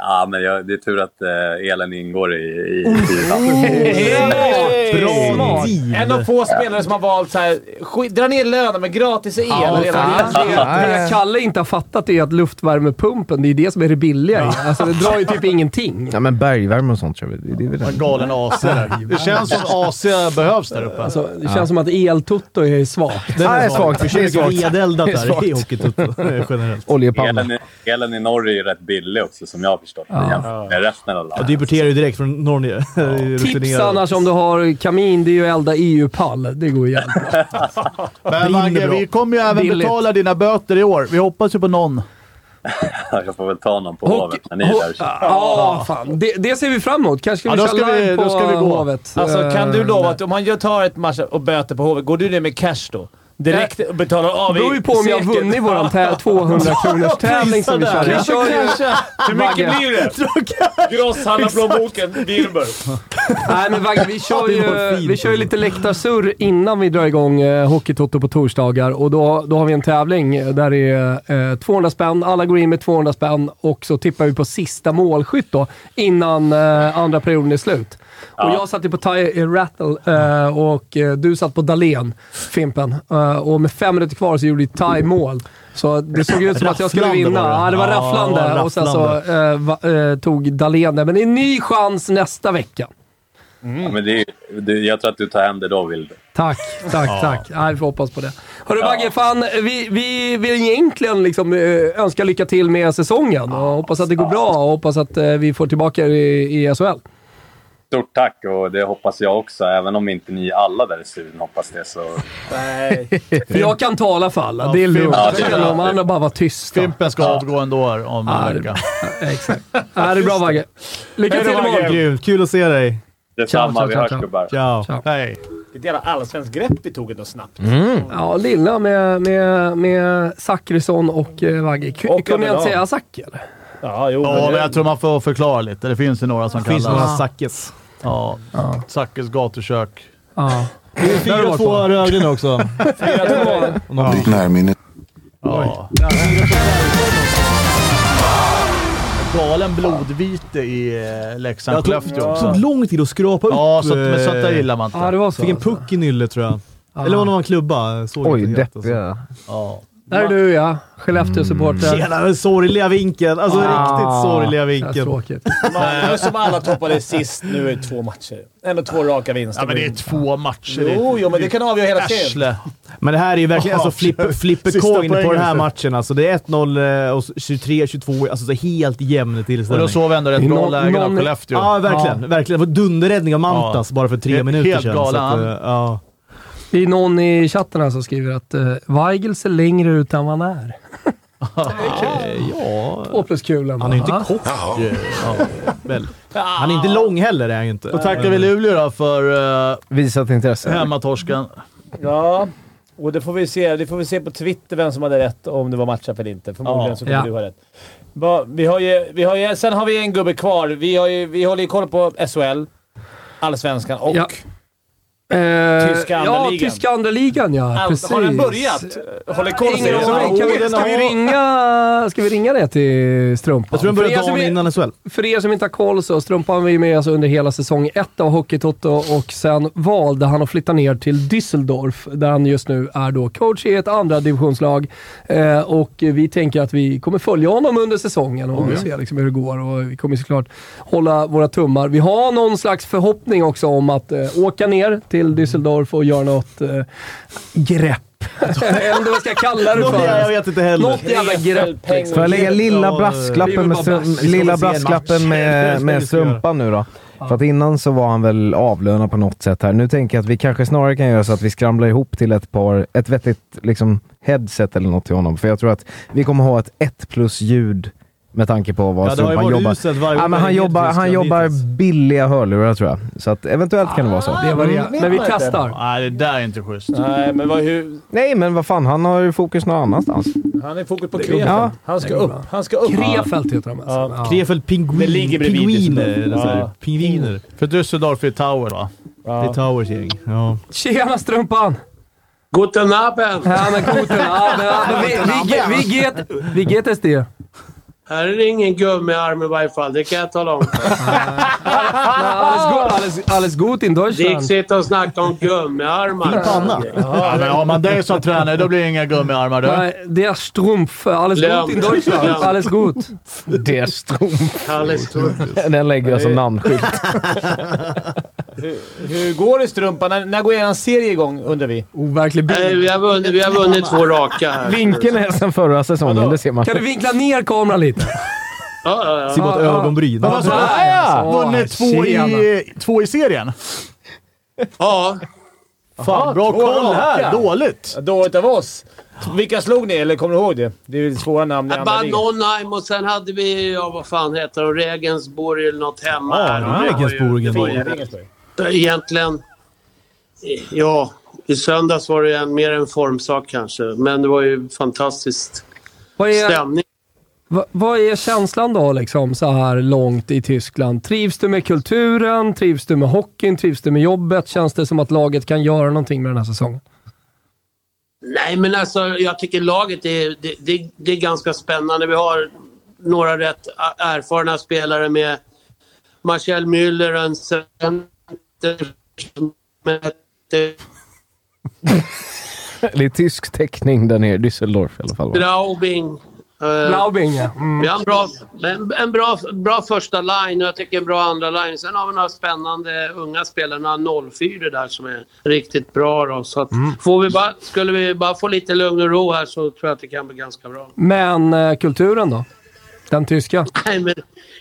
Speaker 9: Ja, men jag, det är tur att eh, elen ingår i, i
Speaker 6: Oh,
Speaker 9: bilan.
Speaker 3: Bra
Speaker 4: deal.
Speaker 3: En av få spelare som har valt så här, skit- dra ner lönen men gratis el
Speaker 1: Ja,
Speaker 3: redan.
Speaker 1: fan. Det, det Kalle inte har fattat är att luftvärmepumpen, det är det som är det billiga i. Alltså det drar ju typ ingenting.
Speaker 6: Ja, men bergvärme och sånt kör vi. Det, det är väl det.
Speaker 2: Galen AC
Speaker 1: <laughs>
Speaker 2: där.
Speaker 6: <laughs>
Speaker 2: Det känns som AC behövs där uppe.
Speaker 1: Alltså, det känns som att eltotto är svagt.
Speaker 4: Den
Speaker 6: Ja, det är svagt.
Speaker 4: Det är mycket vedeldat
Speaker 6: Det är
Speaker 4: där i
Speaker 6: svagt.
Speaker 4: hockeytutto
Speaker 1: eh,
Speaker 4: generellt.
Speaker 6: Oljepanna.
Speaker 9: Elen, i- elen i Norge är ju rätt billig också, som jag har förstått det, jämfört med resten av
Speaker 4: Ja,
Speaker 9: landet. <laughs>
Speaker 4: du importerar ju direkt
Speaker 1: <laughs>
Speaker 4: från Norge.
Speaker 1: Tips annars om du har kamin, det är ju elda EU-pall. Det går ju jävligt bra.
Speaker 2: <laughs> Men Mange, vi kommer ju även
Speaker 1: Billigt.
Speaker 2: betala dina böter i år. Vi hoppas ju på någon.
Speaker 9: Jag får väl ta någon på
Speaker 1: Hockey- Ah!
Speaker 9: Hovet när ni är där.
Speaker 1: ho- Ja, fan. Det, det ser vi fram emot. Kanske ska
Speaker 2: Ja,
Speaker 1: vi
Speaker 2: då
Speaker 1: köra
Speaker 2: ska vi-
Speaker 1: live på
Speaker 2: då ska vi gå.
Speaker 1: Hovet.
Speaker 3: Alltså kan du
Speaker 1: Eh,
Speaker 3: lova att om han gör- tar ett match och böter på HV, går du ner med cash då? Direkt och betalar av
Speaker 1: Det beror ju på om jag har
Speaker 3: säkert.
Speaker 1: vunnit våran tä- 200 kronors tävling som vi
Speaker 2: Prisa
Speaker 1: kör.
Speaker 2: där.
Speaker 1: Vi
Speaker 3: Alltså,
Speaker 1: kör ju...
Speaker 3: Hur mycket blir det? Grosshandlarplånboken, Wilbur.
Speaker 1: Nej, men Vagge, vi kör
Speaker 4: Det var
Speaker 1: ju,
Speaker 4: fint.
Speaker 1: vi kör ju lite läktarsurr innan vi drar igång eh, Hockeytoto på torsdagar. Och då, då har vi en tävling där det är eh, 200 spänn. Alla går in med 200 spänn och så tippar vi på sista målskytt då, innan eh, andra perioden är slut. Och jag satt ju på Ty eh, Rattle eh, och eh, du satt på Dalen Fimpen. Eh, och med fem minuter kvar så gjorde Ty mål. Så det såg ut som att jag skulle
Speaker 4: Rafflande
Speaker 1: vinna.
Speaker 4: var det.
Speaker 1: Ja, det var
Speaker 4: Ja,
Speaker 1: rafflande.
Speaker 4: det var
Speaker 1: Och sen så
Speaker 4: rafflande.
Speaker 1: eh, va, eh, tog Dalen det. Men det är en ny chans nästa vecka.
Speaker 9: Ja, men det är, ju- det, jag tror att du tar hem det då, Wilbur.
Speaker 1: Tack, tack, tack. Nej, vi får hoppas på det. Hörru Bagge, fan, vi, vi vill egentligen liksom, eh, önska lycka till med säsongen och hoppas att det går bra och hoppas att eh, vi får tillbaka er i, i SHL.
Speaker 9: Stort tack och det hoppas jag också. Även om inte ni alla där i studion hoppas det så...
Speaker 1: Jag kan tala för alla, det är lugnt.
Speaker 9: Ja, det är bra.
Speaker 1: Ja, de andra bara var tysta.
Speaker 2: Fimpen ska avgå ändå här om
Speaker 1: Ja,
Speaker 2: en
Speaker 1: det-
Speaker 4: <laughs>
Speaker 2: vecka.
Speaker 1: Exakt. Ja, det är bra Bagge. Lycka till imorgon!
Speaker 4: Grymt. Kul att se dig.
Speaker 9: Detsamma, vi
Speaker 1: ciao,
Speaker 9: hörs
Speaker 1: ciao.
Speaker 9: gubbar.
Speaker 4: Ciao.
Speaker 1: Ciao.
Speaker 2: Hej.
Speaker 3: Vilket jävla allsvenskt grepp vi tog ändå snabbt.
Speaker 1: Ja, Lilla med, med, med Zachrisson och eh, Vagge. Ku-
Speaker 3: Och
Speaker 1: Kunde jag inte
Speaker 3: Abelard.
Speaker 1: säga Zack eller?
Speaker 3: Ja, jo.
Speaker 2: Ja, men jag tror man får förklara lite. Det finns ju några som
Speaker 4: Det finns några
Speaker 2: kallas...
Speaker 4: Zackes.
Speaker 2: Ja. Zackes gatukök.
Speaker 1: Ja.
Speaker 4: Det är fyra två Rögle
Speaker 2: <laughs>
Speaker 4: också.
Speaker 5: Ditt närminne.
Speaker 2: Ja. Galen blodvite i eh, Leksand,
Speaker 4: Jag tog,
Speaker 2: Skellefteå
Speaker 4: det
Speaker 2: också.
Speaker 4: tog lång tid att skrapa upp.
Speaker 2: Ja, så, men sånt där
Speaker 4: eh,
Speaker 2: gillar man inte.
Speaker 1: ja, det var så.
Speaker 4: Fick en puck i nyllet tror jag. Eller var det någon klubba? Såg
Speaker 6: Oj,
Speaker 4: inte helt, alltså.
Speaker 6: deppiga.
Speaker 2: Ja.
Speaker 1: Där är du ja, Skellefteå-supporter.
Speaker 4: Tjena, den sorgliga vinkeln. Alltså riktigt sorgliga
Speaker 1: Ja,
Speaker 4: vinkeln.
Speaker 1: Tråkigt.
Speaker 3: Man, som alla toppade sist. Nu är det två matcher. En och två raka vinster.
Speaker 2: Ja, men det är två matcher.
Speaker 3: Jo, jo, men det kan avgöra hela serien.
Speaker 2: Arsle.
Speaker 4: Men det här är ju verkligen alltså, flip,
Speaker 2: Sista
Speaker 4: flipper coin på den här
Speaker 2: poängen.
Speaker 4: matchen. Alltså, det är 1-0 eh, och 23-22. Alltså så helt jämn
Speaker 2: Och då
Speaker 4: tillställning.
Speaker 2: såg vi ändå rätt
Speaker 1: Det är
Speaker 2: bra
Speaker 1: någon-
Speaker 2: lägen av
Speaker 1: någon-
Speaker 2: Skellefteå.
Speaker 4: Ja, verkligen. verkligen. Det var dunderräddning av Mantas
Speaker 2: Ja.
Speaker 4: bara för tre
Speaker 2: Helt
Speaker 4: minuter sedan.
Speaker 2: galen.
Speaker 4: Så att, eh, ja.
Speaker 1: Det är någon i chatten här som skriver att uh, Weigel ser längre ut än vad han är.
Speaker 4: ja.
Speaker 1: Två plus kulan.
Speaker 4: Han är ju inte kort. Väl. Han är inte lång heller, är han ju inte. Eh.
Speaker 2: Då tackar vi Luleå då för uh,
Speaker 6: Visat intresse.
Speaker 4: <laughs>
Speaker 2: hemmatorsken.
Speaker 3: Ja, och det får vi se. Det får vi se på Twitter vem som hade rätt, om det var matchup eller inte. Förmodligen
Speaker 2: Ja.
Speaker 3: så kommer
Speaker 1: Ja.
Speaker 3: du ha rätt. Va, vi har ju, vi har ju, sen har vi en gubbe kvar. Vi, har ju, vi håller ju koll på SHL, Allsvenskan och...
Speaker 1: Ja.
Speaker 3: Ja.
Speaker 1: Eh,
Speaker 3: Tyska
Speaker 1: ja,
Speaker 3: andraligan.
Speaker 1: tyska andra ja. precis.
Speaker 3: har den börjat? Håller koll på
Speaker 1: Ingen
Speaker 3: det.
Speaker 1: aning. Kan vi,
Speaker 4: oh, Den
Speaker 1: ska, vi
Speaker 4: har-
Speaker 1: ringa, ska vi ringa det till Strumpan?
Speaker 4: Jag tror den började
Speaker 1: för, alltså, er
Speaker 4: dagen
Speaker 1: som,
Speaker 4: innan SHL.
Speaker 1: för er som inte har koll så Strumpan var ju med oss under hela säsong ett av Hockeytoto och sen valde han att flytta ner till Düsseldorf där han just nu är då coach i ett andra divisionslag. Eh, och vi tänker att vi kommer följa honom under säsongen och se liksom hur det går. Och vi kommer såklart hålla våra tummar. Vi har någon slags förhoppning också om att eh, åka ner till Düsseldorf och göra något eh, grepp. Eller vad jag ska kalla det
Speaker 4: Något,
Speaker 1: för.
Speaker 4: jag vet inte heller.
Speaker 1: Något jävla grepp.
Speaker 6: Får jag lägga lilla
Speaker 4: Ja,
Speaker 1: vi vill
Speaker 6: brasklappen med,
Speaker 1: bara
Speaker 6: strum,
Speaker 1: brask.
Speaker 6: lilla
Speaker 4: Vi ska väl se en match.
Speaker 6: brasklappen
Speaker 4: Det är
Speaker 6: med,
Speaker 4: det
Speaker 6: med
Speaker 4: vi ska göra.
Speaker 6: strumpan nu då? För att innan så var han väl avlönad på något sätt här. Nu tänker jag att vi kanske snarare kan göra så att vi skramlar ihop till ett par, ett vettigt liksom, headset eller något till honom. För jag tror att vi kommer ha ett 1 plus ljud med tanke på vad
Speaker 4: Ja, det har ju
Speaker 6: strumpan
Speaker 4: varit
Speaker 6: jobbar.
Speaker 4: uselt varje
Speaker 6: Ja,
Speaker 4: år.
Speaker 6: men han
Speaker 4: Helt
Speaker 6: jobbar, han
Speaker 4: Tyskland hittills.
Speaker 6: jobbar billiga hörlurar tror jag. Så att eventuellt kan det vara så.
Speaker 4: Ah,
Speaker 1: Det var
Speaker 2: Mm,
Speaker 1: det. Men vi testar.
Speaker 2: Nej, det där är inte schysst.
Speaker 3: Nej, men vad, hur,
Speaker 6: Nej, men vad fan, han har ju fokus någon annanstans.
Speaker 3: han är fokus på Krefeld.
Speaker 6: Ja.
Speaker 3: Han ska upp. Han ska upp.
Speaker 1: Krefeld heter de alltså.
Speaker 3: Ja.
Speaker 4: Krefeld pingvin,
Speaker 3: Det ligger bredvid
Speaker 4: pingviner.
Speaker 3: Düsseldorf.
Speaker 4: eller så här,
Speaker 3: Ja.
Speaker 4: Pingviner.
Speaker 2: För Düsseldorf är Tower va?
Speaker 4: Det är Towers gäng. Ja.
Speaker 1: Tjena Strumpan!
Speaker 10: Guten Abend!
Speaker 1: Ja, men guten Abend. Ja, men vi, vi, vi, vi, get, vi get es det.
Speaker 10: Här är det ingen gubbe med arm i varje fall, det kan jag tala om.
Speaker 1: Alles, go alles, alles gut in
Speaker 10: Dick
Speaker 1: Deutschland.
Speaker 10: sitter och snackar om gummiarmar.
Speaker 2: Ja, men har man dig som tränare, då blir det inga gummiarmar du.
Speaker 1: Nej, det är strumpf. Alles
Speaker 2: Glöm.
Speaker 1: gut in Deutschland.
Speaker 2: Glöm.
Speaker 1: Alles gut.
Speaker 6: <laughs> Det är strumpf.
Speaker 10: Alles
Speaker 6: Den lägger jag som namnskylt.
Speaker 3: <laughs> Hur, hur går det i strumpan? När, när går er serie igång, undrar vi?
Speaker 1: Overklig
Speaker 10: Nej, vi, har vunnit, vi har vunnit två raka här.
Speaker 6: Vinkeln är sen förra säsongen, det ser man.
Speaker 1: Kan du vinkla ner kameran lite?
Speaker 10: <laughs> Ja, ja, ja.
Speaker 6: Se på ett ögonbryn.
Speaker 2: Vad sa du?
Speaker 1: Ja,
Speaker 2: Vunnit två i, två i serien?
Speaker 10: Ja.
Speaker 2: Fan, bra
Speaker 3: två
Speaker 2: koll
Speaker 3: raka.
Speaker 2: här. Dåligt.
Speaker 3: Dåligt av oss. Vilka slog ni, eller kommer du ihåg det? Det är ju svåra namn i
Speaker 10: Ja,
Speaker 3: andra
Speaker 10: Bara
Speaker 3: ligan.
Speaker 10: Nonheim och sen hade vi, ja vad fan heter de, Regensburg eller något hemma
Speaker 4: Ja,
Speaker 10: här. Och det var ju-
Speaker 4: Regensburgen.
Speaker 10: det var ju- Egentligen, ja, i söndags var det ju en, mer en formsak kanske. Men det var ju fantastiskt
Speaker 1: Vad är,
Speaker 10: stämning.
Speaker 1: va, vad är känslan då, liksom, så här långt i Tyskland? Trivs du med kulturen? Trivs du med hockeyn? Trivs du med jobbet? Känns det som att laget kan göra någonting med den här säsongen?
Speaker 10: Nej, men alltså jag tycker laget är, det, det, det är ganska spännande. Vi har några rätt a- erfarna spelare med Marcel Müller, en center som heter
Speaker 6: Det är tysk teckning där nere i Düsseldorf i alla fall. va?
Speaker 10: Straubing. Eh,
Speaker 1: Blaubing, ja. Mm.
Speaker 10: Vi har en bra, en, en bra, bra första line och jag tycker en bra andra line. Sen har vi några spännande unga spelare, några 04 där som är riktigt bra. Då. Så att
Speaker 1: Mm.
Speaker 10: får vi bara, skulle vi bara få lite lugn och ro här så tror jag att det kan bli ganska bra.
Speaker 1: Men eh, kulturen då? Den tyska?
Speaker 10: Nej, men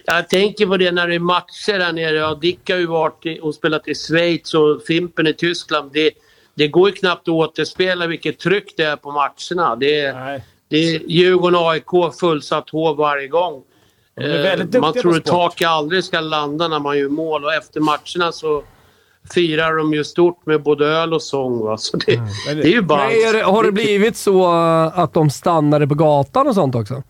Speaker 10: jag tänker på det när det är matcher där nere. Ja, Dick har ju varit i, och spelat i Schweiz och Fimpen i Tyskland. Det, det går ju knappt att återspela vilket tryck det är på matcherna. Det, är-
Speaker 3: Nej.
Speaker 10: det är Djurgården-AIK fullsatt hov varje gång.
Speaker 3: De är väldigt
Speaker 10: Eh,
Speaker 3: duktiga
Speaker 10: man
Speaker 3: på
Speaker 10: tror att
Speaker 3: sport.
Speaker 10: tak aldrig ska landa när man gör mål och efter matcherna så firar de ju stort med både öl och sång. Va? Så det,
Speaker 3: Mm.
Speaker 10: det är ju bara...
Speaker 1: Nej, är det, har det blivit så eh, att de stannade på gatan och sånt också?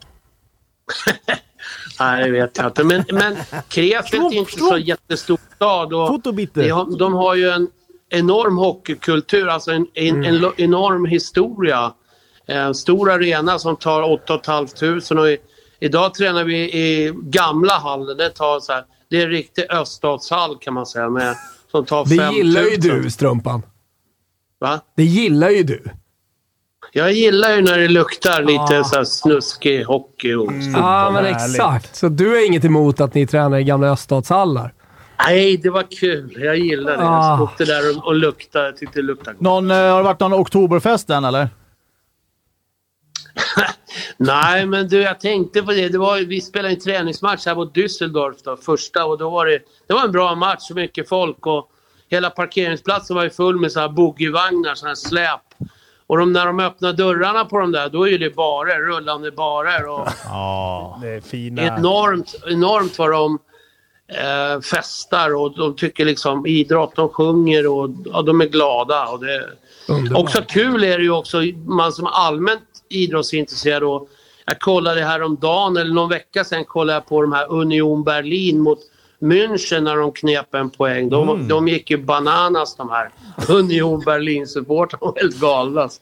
Speaker 10: Nej, det vet jag inte. Men, men Krefeld är inte så jättestor stad. Och
Speaker 4: Fotobitte.
Speaker 10: de, har, de har ju en enorm hockeykultur, alltså en, en, en lo- enorm historia. En stor arena som tar 8 500 och i, idag tränar vi i gamla hallen. Det, tar så här, det är en riktig öststatshall kan man säga. Med, som tar 5
Speaker 1: Det
Speaker 10: 000.
Speaker 1: gillar ju du, Strumpan.
Speaker 10: Va?
Speaker 1: Det gillar ju du.
Speaker 10: Jag gillar ju när det luktar lite
Speaker 1: Ah.
Speaker 10: så här snuskig hockey och
Speaker 1: Ja, men
Speaker 3: härligt.
Speaker 1: exakt. Så du har inget emot att ni tränar i gamla öststatshallar?
Speaker 10: Nej, det var kul. Jag gillar det.
Speaker 1: Ah.
Speaker 10: Jag stod där och, och luktade. Jag tyckte det luktade gott.
Speaker 2: Någon, eh, har det varit någon oktoberfest än eller?
Speaker 10: Nej, men du, jag tänkte på det. det var, ju- vi spelade en träningsmatch här mot Düsseldorf, då, första. Och då var det, det var en bra match, så mycket folk. Och hela parkeringsplatsen var ju full med så här boogievagnar, så här släp. Och de, när de öppnar dörrarna på de där, då är ju det barer, rullande barer. Och
Speaker 3: Det är fina.
Speaker 10: enormt, enormt vad de eh, festar och de tycker liksom idrott, de sjunger och ja, de är glada. Och det,
Speaker 1: Underbart.
Speaker 10: också kul är det ju också, man som är allmänt idrottsintresserad och jag kollade häromdagen eller någon vecka sedan kollade jag på de här Union Berlin mot München när de knep en poäng. De, de gick ju bananas de här Union Berlin-supportrarna. De var helt galna. alltså.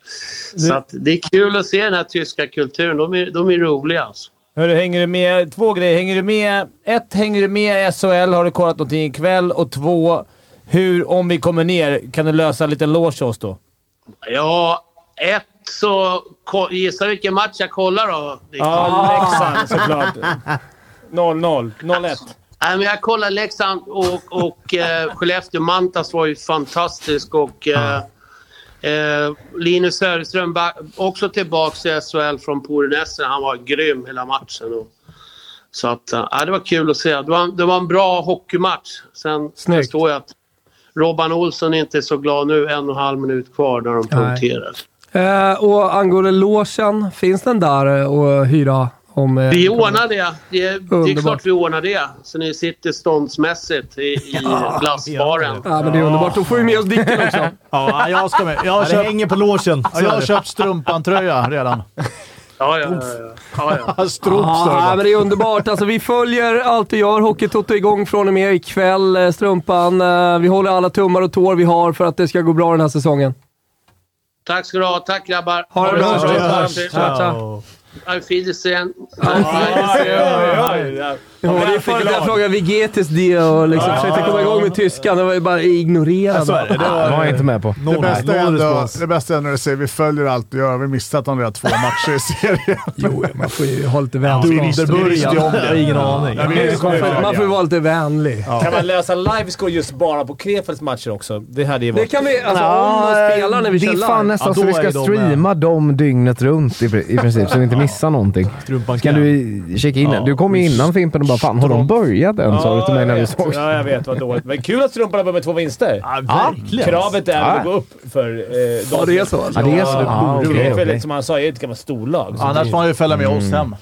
Speaker 10: Så att det är kul att se den här tyska kulturen. De är, de är roliga alltså.
Speaker 3: Hörru, hänger du med? Två grejer. Hänger du med? Ett, hänger du med i SHL? Har du kollat någonting ikväll? Och två, hur, om vi kommer ner, kan du lösa en liten loge åt oss då?
Speaker 10: Ja, ett så... ko- Gissa vilken match jag kollar då. liksom. Dick?
Speaker 3: Ja, Leksand såklart. <laughs> 0-0. 0-1.
Speaker 10: Nej, men jag kollar Leksand och, och eh, Skellefteå. Mantas var ju fantastisk och eh, eh, Linus Söderström ba- också tillbaka i SHL från Porinäsen. Han var grym hela matchen. Och, så att, eh, ja, det var kul att se. Det var, det var en bra hockeymatch. Sen
Speaker 1: Snyggt.
Speaker 10: förstår jag att Robban Olsson inte är så glad nu. En och en halv minut kvar när de punkterar.
Speaker 1: Eh, och angående logen, finns den där eh, att hyra? Om, eh,
Speaker 10: Vi ordnar det. Det är, det är
Speaker 1: Underbart.
Speaker 10: klart vi ordnar det. Så ni sitter ståndsmässigt
Speaker 1: <laughs>
Speaker 10: i, i glassbaren.
Speaker 1: Ja, men det är underbart. Då får vi med oss Dicken också.
Speaker 2: Ja, jag ska med. Jag har
Speaker 4: Ja, det
Speaker 2: köpt,
Speaker 4: hänger på logen.
Speaker 2: ja, jag har köpt strumpan-tröja redan.
Speaker 10: Ja, ja, ja, ja.
Speaker 1: <laughs>
Speaker 10: ja,
Speaker 2: Strump,
Speaker 1: Ja,
Speaker 2: ah,
Speaker 1: men det är underbart. Alltså, vi följer allt du gör. Hockeytoto igång från och med ikväll, eh, Strumpan. Eh, Vi håller alla tummar och tår vi har för att det ska gå bra den här säsongen.
Speaker 10: Tack ska du ha. Tack grabbar.
Speaker 1: Ha det bra.
Speaker 10: så
Speaker 1: Vi hörs.
Speaker 10: Tack.
Speaker 1: Ciao, ciao.
Speaker 4: Ja.
Speaker 10: Auf Wiedersehen.
Speaker 1: Ja, det är för att jag frågade Vigetis det och liksom försökte komma igång med tyskan. Det var ju bara ignorerande.
Speaker 2: Ja, så är det. Det var-
Speaker 6: var jag inte med på.
Speaker 2: Det bästa, är
Speaker 6: Noll
Speaker 2: ändå,
Speaker 6: respons.
Speaker 2: det bästa är när du säger vi följer allt du gör. Vi missar att de redan två matcher i serien.
Speaker 1: jo, man får ju ha lite vänskap.
Speaker 2: Du visste
Speaker 1: Underbörjan.
Speaker 2: vi visste ju om det.
Speaker 1: Jag har ingen aning.
Speaker 2: Ja, vi
Speaker 1: Man
Speaker 2: visste ju om
Speaker 1: får-
Speaker 2: det.
Speaker 1: Man får ju vara lite vänlig.
Speaker 3: Kan man läsa livescore just bara på Krefelds matcher också? Det hade ju varit...
Speaker 1: Det kan vi- alltså, om de spelar när vi
Speaker 6: Det
Speaker 1: kör
Speaker 6: är
Speaker 1: live.
Speaker 6: fan nästan
Speaker 1: Ja,
Speaker 6: så
Speaker 1: då
Speaker 6: vi ska
Speaker 1: är de med.
Speaker 6: streama dem dygnet runt i, pri- i princip, så vi inte missar någonting.
Speaker 4: Strumpan
Speaker 6: Kan du checka in? Du kom ju innan Fimpen och bara “Fan, har de börjat än?” sa du till mig när vi såg.
Speaker 3: Ja, jag vet. Vad dåligt. Men kul att Strumporna börjar med två vinster. Ja,
Speaker 6: verkligen.
Speaker 3: Kravet är
Speaker 6: Ja.
Speaker 3: att gå upp för eh,
Speaker 1: Ja, det är så alltså? Ja, det är så. Ah, okej, Mm.
Speaker 3: Krefeld,
Speaker 1: okej.
Speaker 3: som han sa, är ett gammalt storlag. så
Speaker 2: Annars
Speaker 3: det-
Speaker 2: får han ju följa med oss hem.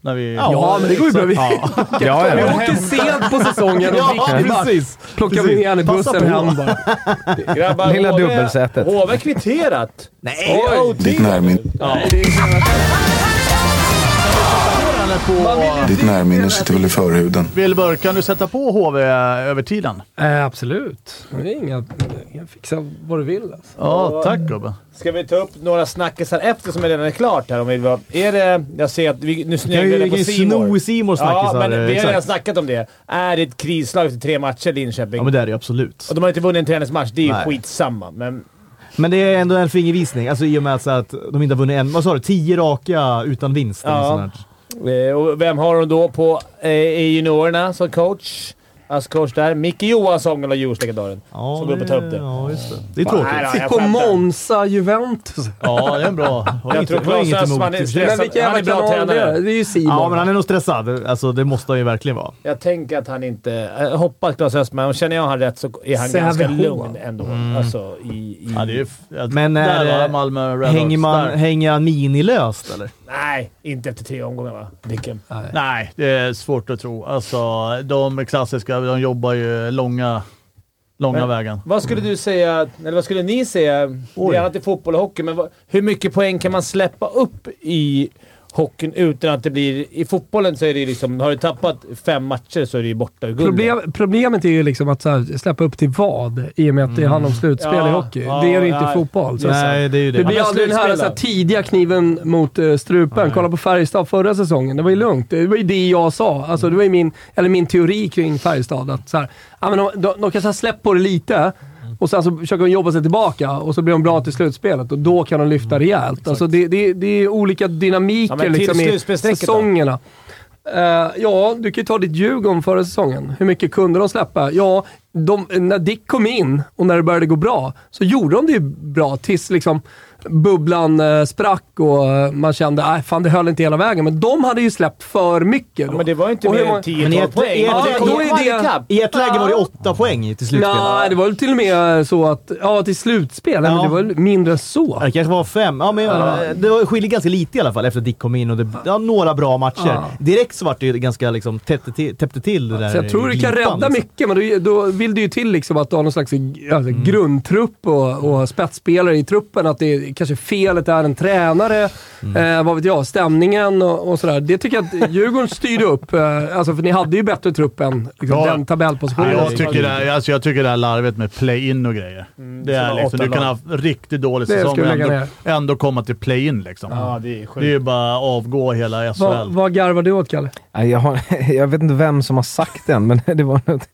Speaker 2: När vi...
Speaker 3: Ja, men det går ju bra. Vi-
Speaker 2: Ja.
Speaker 3: <laughs> ja.
Speaker 1: Vi åker sent på säsongen.
Speaker 2: Ja,
Speaker 1: Ja,
Speaker 2: precis.
Speaker 1: Plockar vi
Speaker 2: Precis.
Speaker 1: ner i
Speaker 2: Passa
Speaker 1: bussen
Speaker 2: på.
Speaker 1: hem bara.
Speaker 3: <laughs> Grabbar,
Speaker 1: Lilla
Speaker 3: HV
Speaker 1: dubbelsätet.
Speaker 3: HV kvitterat. Nej!
Speaker 5: Ditt närminne. Ditt närminne sitter väl i förhuden.
Speaker 2: Wilbur, kan du sätta på HV över tiden?
Speaker 1: Eh, absolut. Det är inga... inga- Fixa vad du vill alltså.
Speaker 2: Ja, tack gubben.
Speaker 3: Ska vi ta upp några snackisar efter som redan är klart här? Om vi vill, är det, jag ser att vi, nu sneglar
Speaker 4: ju-
Speaker 3: jag på
Speaker 4: vi kan ju
Speaker 3: C-more.
Speaker 4: sno C-more snackisar,
Speaker 3: Ja, men vi har
Speaker 4: exakt.
Speaker 3: redan snackat om det. Är det ett krislag efter tre matcher Linköping?
Speaker 4: Ja, men det är det ju absolut.
Speaker 3: Och de har inte vunnit en träningsmatch. Det är ju
Speaker 4: Nej.
Speaker 3: skitsamma. Men
Speaker 4: Men det är ändå en fingervisning, alltså i och med att, så att de inte har vunnit en... Vad sa du? Tio raka utan vinst? eller
Speaker 3: Ja.
Speaker 4: sånt där.
Speaker 3: Eh, Och vem har de då på eh, i juniorerna som coach? Alltså coach där. Micke Johansson, gamla Djurgårdslegendaren. som går upp och tar upp det.
Speaker 4: Ja, just det.
Speaker 3: är tråkigt. Nej, då, jag
Speaker 1: På
Speaker 3: skämtar.
Speaker 1: Monza Juventus.
Speaker 2: Ja, det är en bra.
Speaker 3: Jag tror Claes Östman är stressad.
Speaker 1: Men vilken
Speaker 3: Han är
Speaker 1: jävla
Speaker 3: bra
Speaker 1: kanal det är.
Speaker 3: tränare.
Speaker 1: Det är ju Simon.
Speaker 4: Ja, men han är nog stressad. Alltså det måste han ju verkligen vara.
Speaker 3: Jag tänker att han inte... Jag hoppas Claes Östman. Om känner jag han rätt så är han
Speaker 4: Sävehof.
Speaker 3: ganska lugn ändå.
Speaker 6: Mm.
Speaker 3: Alltså i... i...
Speaker 2: Ja, det är ju... f- ja,
Speaker 4: Men
Speaker 2: där
Speaker 4: är
Speaker 2: var
Speaker 4: det-
Speaker 2: Malmö Red Hawks.
Speaker 4: hänger, man,
Speaker 2: Där.
Speaker 4: hänger han minilöst eller?
Speaker 3: Nej, inte efter tre omgångar va? Dicken.
Speaker 2: Nej, det är svårt att tro. Alltså, de klassiska, de jobbar ju långa, långa
Speaker 3: Men-
Speaker 2: vägen.
Speaker 3: Vad skulle du säga, eller vad skulle ni säga, det är annat i fotboll och hockey, men vad, hur mycket poäng kan man släppa upp i hockeyn utan att det blir... I fotbollen så är det ju liksom, har du tappat fem matcher så är det ju borta ur guldet.
Speaker 1: Problem, problemet är ju liksom att så här, släppa upp till vad i och med att det handlar om slutspel
Speaker 3: Mm. Ja,
Speaker 1: i hockey.
Speaker 3: ja,
Speaker 1: det är det inte
Speaker 3: ja.
Speaker 1: i fotboll. Så
Speaker 4: Nej,
Speaker 1: att säga.
Speaker 4: det är ju det.
Speaker 1: blir
Speaker 3: Ja, men
Speaker 1: aldrig den här,
Speaker 3: slutspel
Speaker 1: så här
Speaker 3: då?
Speaker 1: tidiga kniven mot eh, strupen. Kolla på Färjestad förra säsongen. Det var ju lugnt. Det var ju det jag sa. Alltså, det var ju min, eller min teori kring Färjestad. Att så här, ja, men de, de, de kanske har släppt på det lite. Och sen så försöker de jobba sig tillbaka och så blir de bra till slutspelet och då kan de lyfta rejält. Alltså det, det, det är olika dynamiker
Speaker 3: Mm. Ja, men till
Speaker 1: liksom i
Speaker 3: slutspelsstrecket då?
Speaker 1: säsongerna. Eh, ja, du kan ju ta ditt Djurgården förra säsongen. Hur mycket kunde de släppa? Ja, de, när Dick kom in och när det började gå bra så gjorde de det ju bra tills liksom bubblan eh, sprack och eh, man kände att fan det höll inte hela vägen. Men de hade ju släppt för mycket. Då.
Speaker 3: Ja, men det var ju inte
Speaker 1: Och
Speaker 3: mer
Speaker 1: hur
Speaker 3: än
Speaker 1: många-
Speaker 3: 10-12 poäng.
Speaker 1: i ett-
Speaker 3: Ja,
Speaker 1: i ett-
Speaker 3: kom
Speaker 1: då är
Speaker 3: Ryder
Speaker 1: det-
Speaker 3: Cup.
Speaker 4: I ett läge var det åtta poäng till slutspel.
Speaker 1: Nej, det var väl till och med så att... Ja, till slutspel. Nej, men
Speaker 4: Ja.
Speaker 1: det var väl mindre än så.
Speaker 4: Ja, Det kanske var fem. Ja, men eh, Det var- skiljer ganska lite i alla fall efter att Dick kom in och det ja, några bra matcher.
Speaker 1: Ja.
Speaker 4: Direkt så vart det ju ganska liksom täppte till, täppte till det där
Speaker 1: Så jag tror det kan
Speaker 4: glipan,
Speaker 1: rädda
Speaker 4: liksom.
Speaker 1: mycket, men då, då vill det ju till liksom att du har någon slags alltså,
Speaker 4: Mm.
Speaker 1: grundtrupp och, och spetsspelare i truppen. Att det är, kanske felet är en tränare,
Speaker 4: Mm.
Speaker 1: eh, vad vet jag, stämningen och, och sådär. Det tycker jag att Djurgården styrde upp. Eh, alltså, för ni hade ju bättre trupp än liksom,
Speaker 2: Ja.
Speaker 1: den tabellpositionen.
Speaker 2: Jag tycker, det här, alltså jag tycker det här larvet med play-in och grejer. det
Speaker 3: som
Speaker 2: är
Speaker 3: har
Speaker 2: liksom,
Speaker 3: åtta
Speaker 2: du kan
Speaker 3: lag.
Speaker 2: ha riktigt dålig
Speaker 1: Det
Speaker 2: säsong
Speaker 1: ska
Speaker 2: och
Speaker 1: vi lägga
Speaker 2: ändå,
Speaker 1: ner.
Speaker 2: ändå komma till play-in liksom.
Speaker 3: Ja, det är sjukt.
Speaker 2: Det är ju bara att avgå hela SHL.
Speaker 1: Vad, vad garvar du åt, Kalle?
Speaker 6: Nej, Jag, har, <laughs> jag vet inte vem som har sagt den, men <laughs> det var något,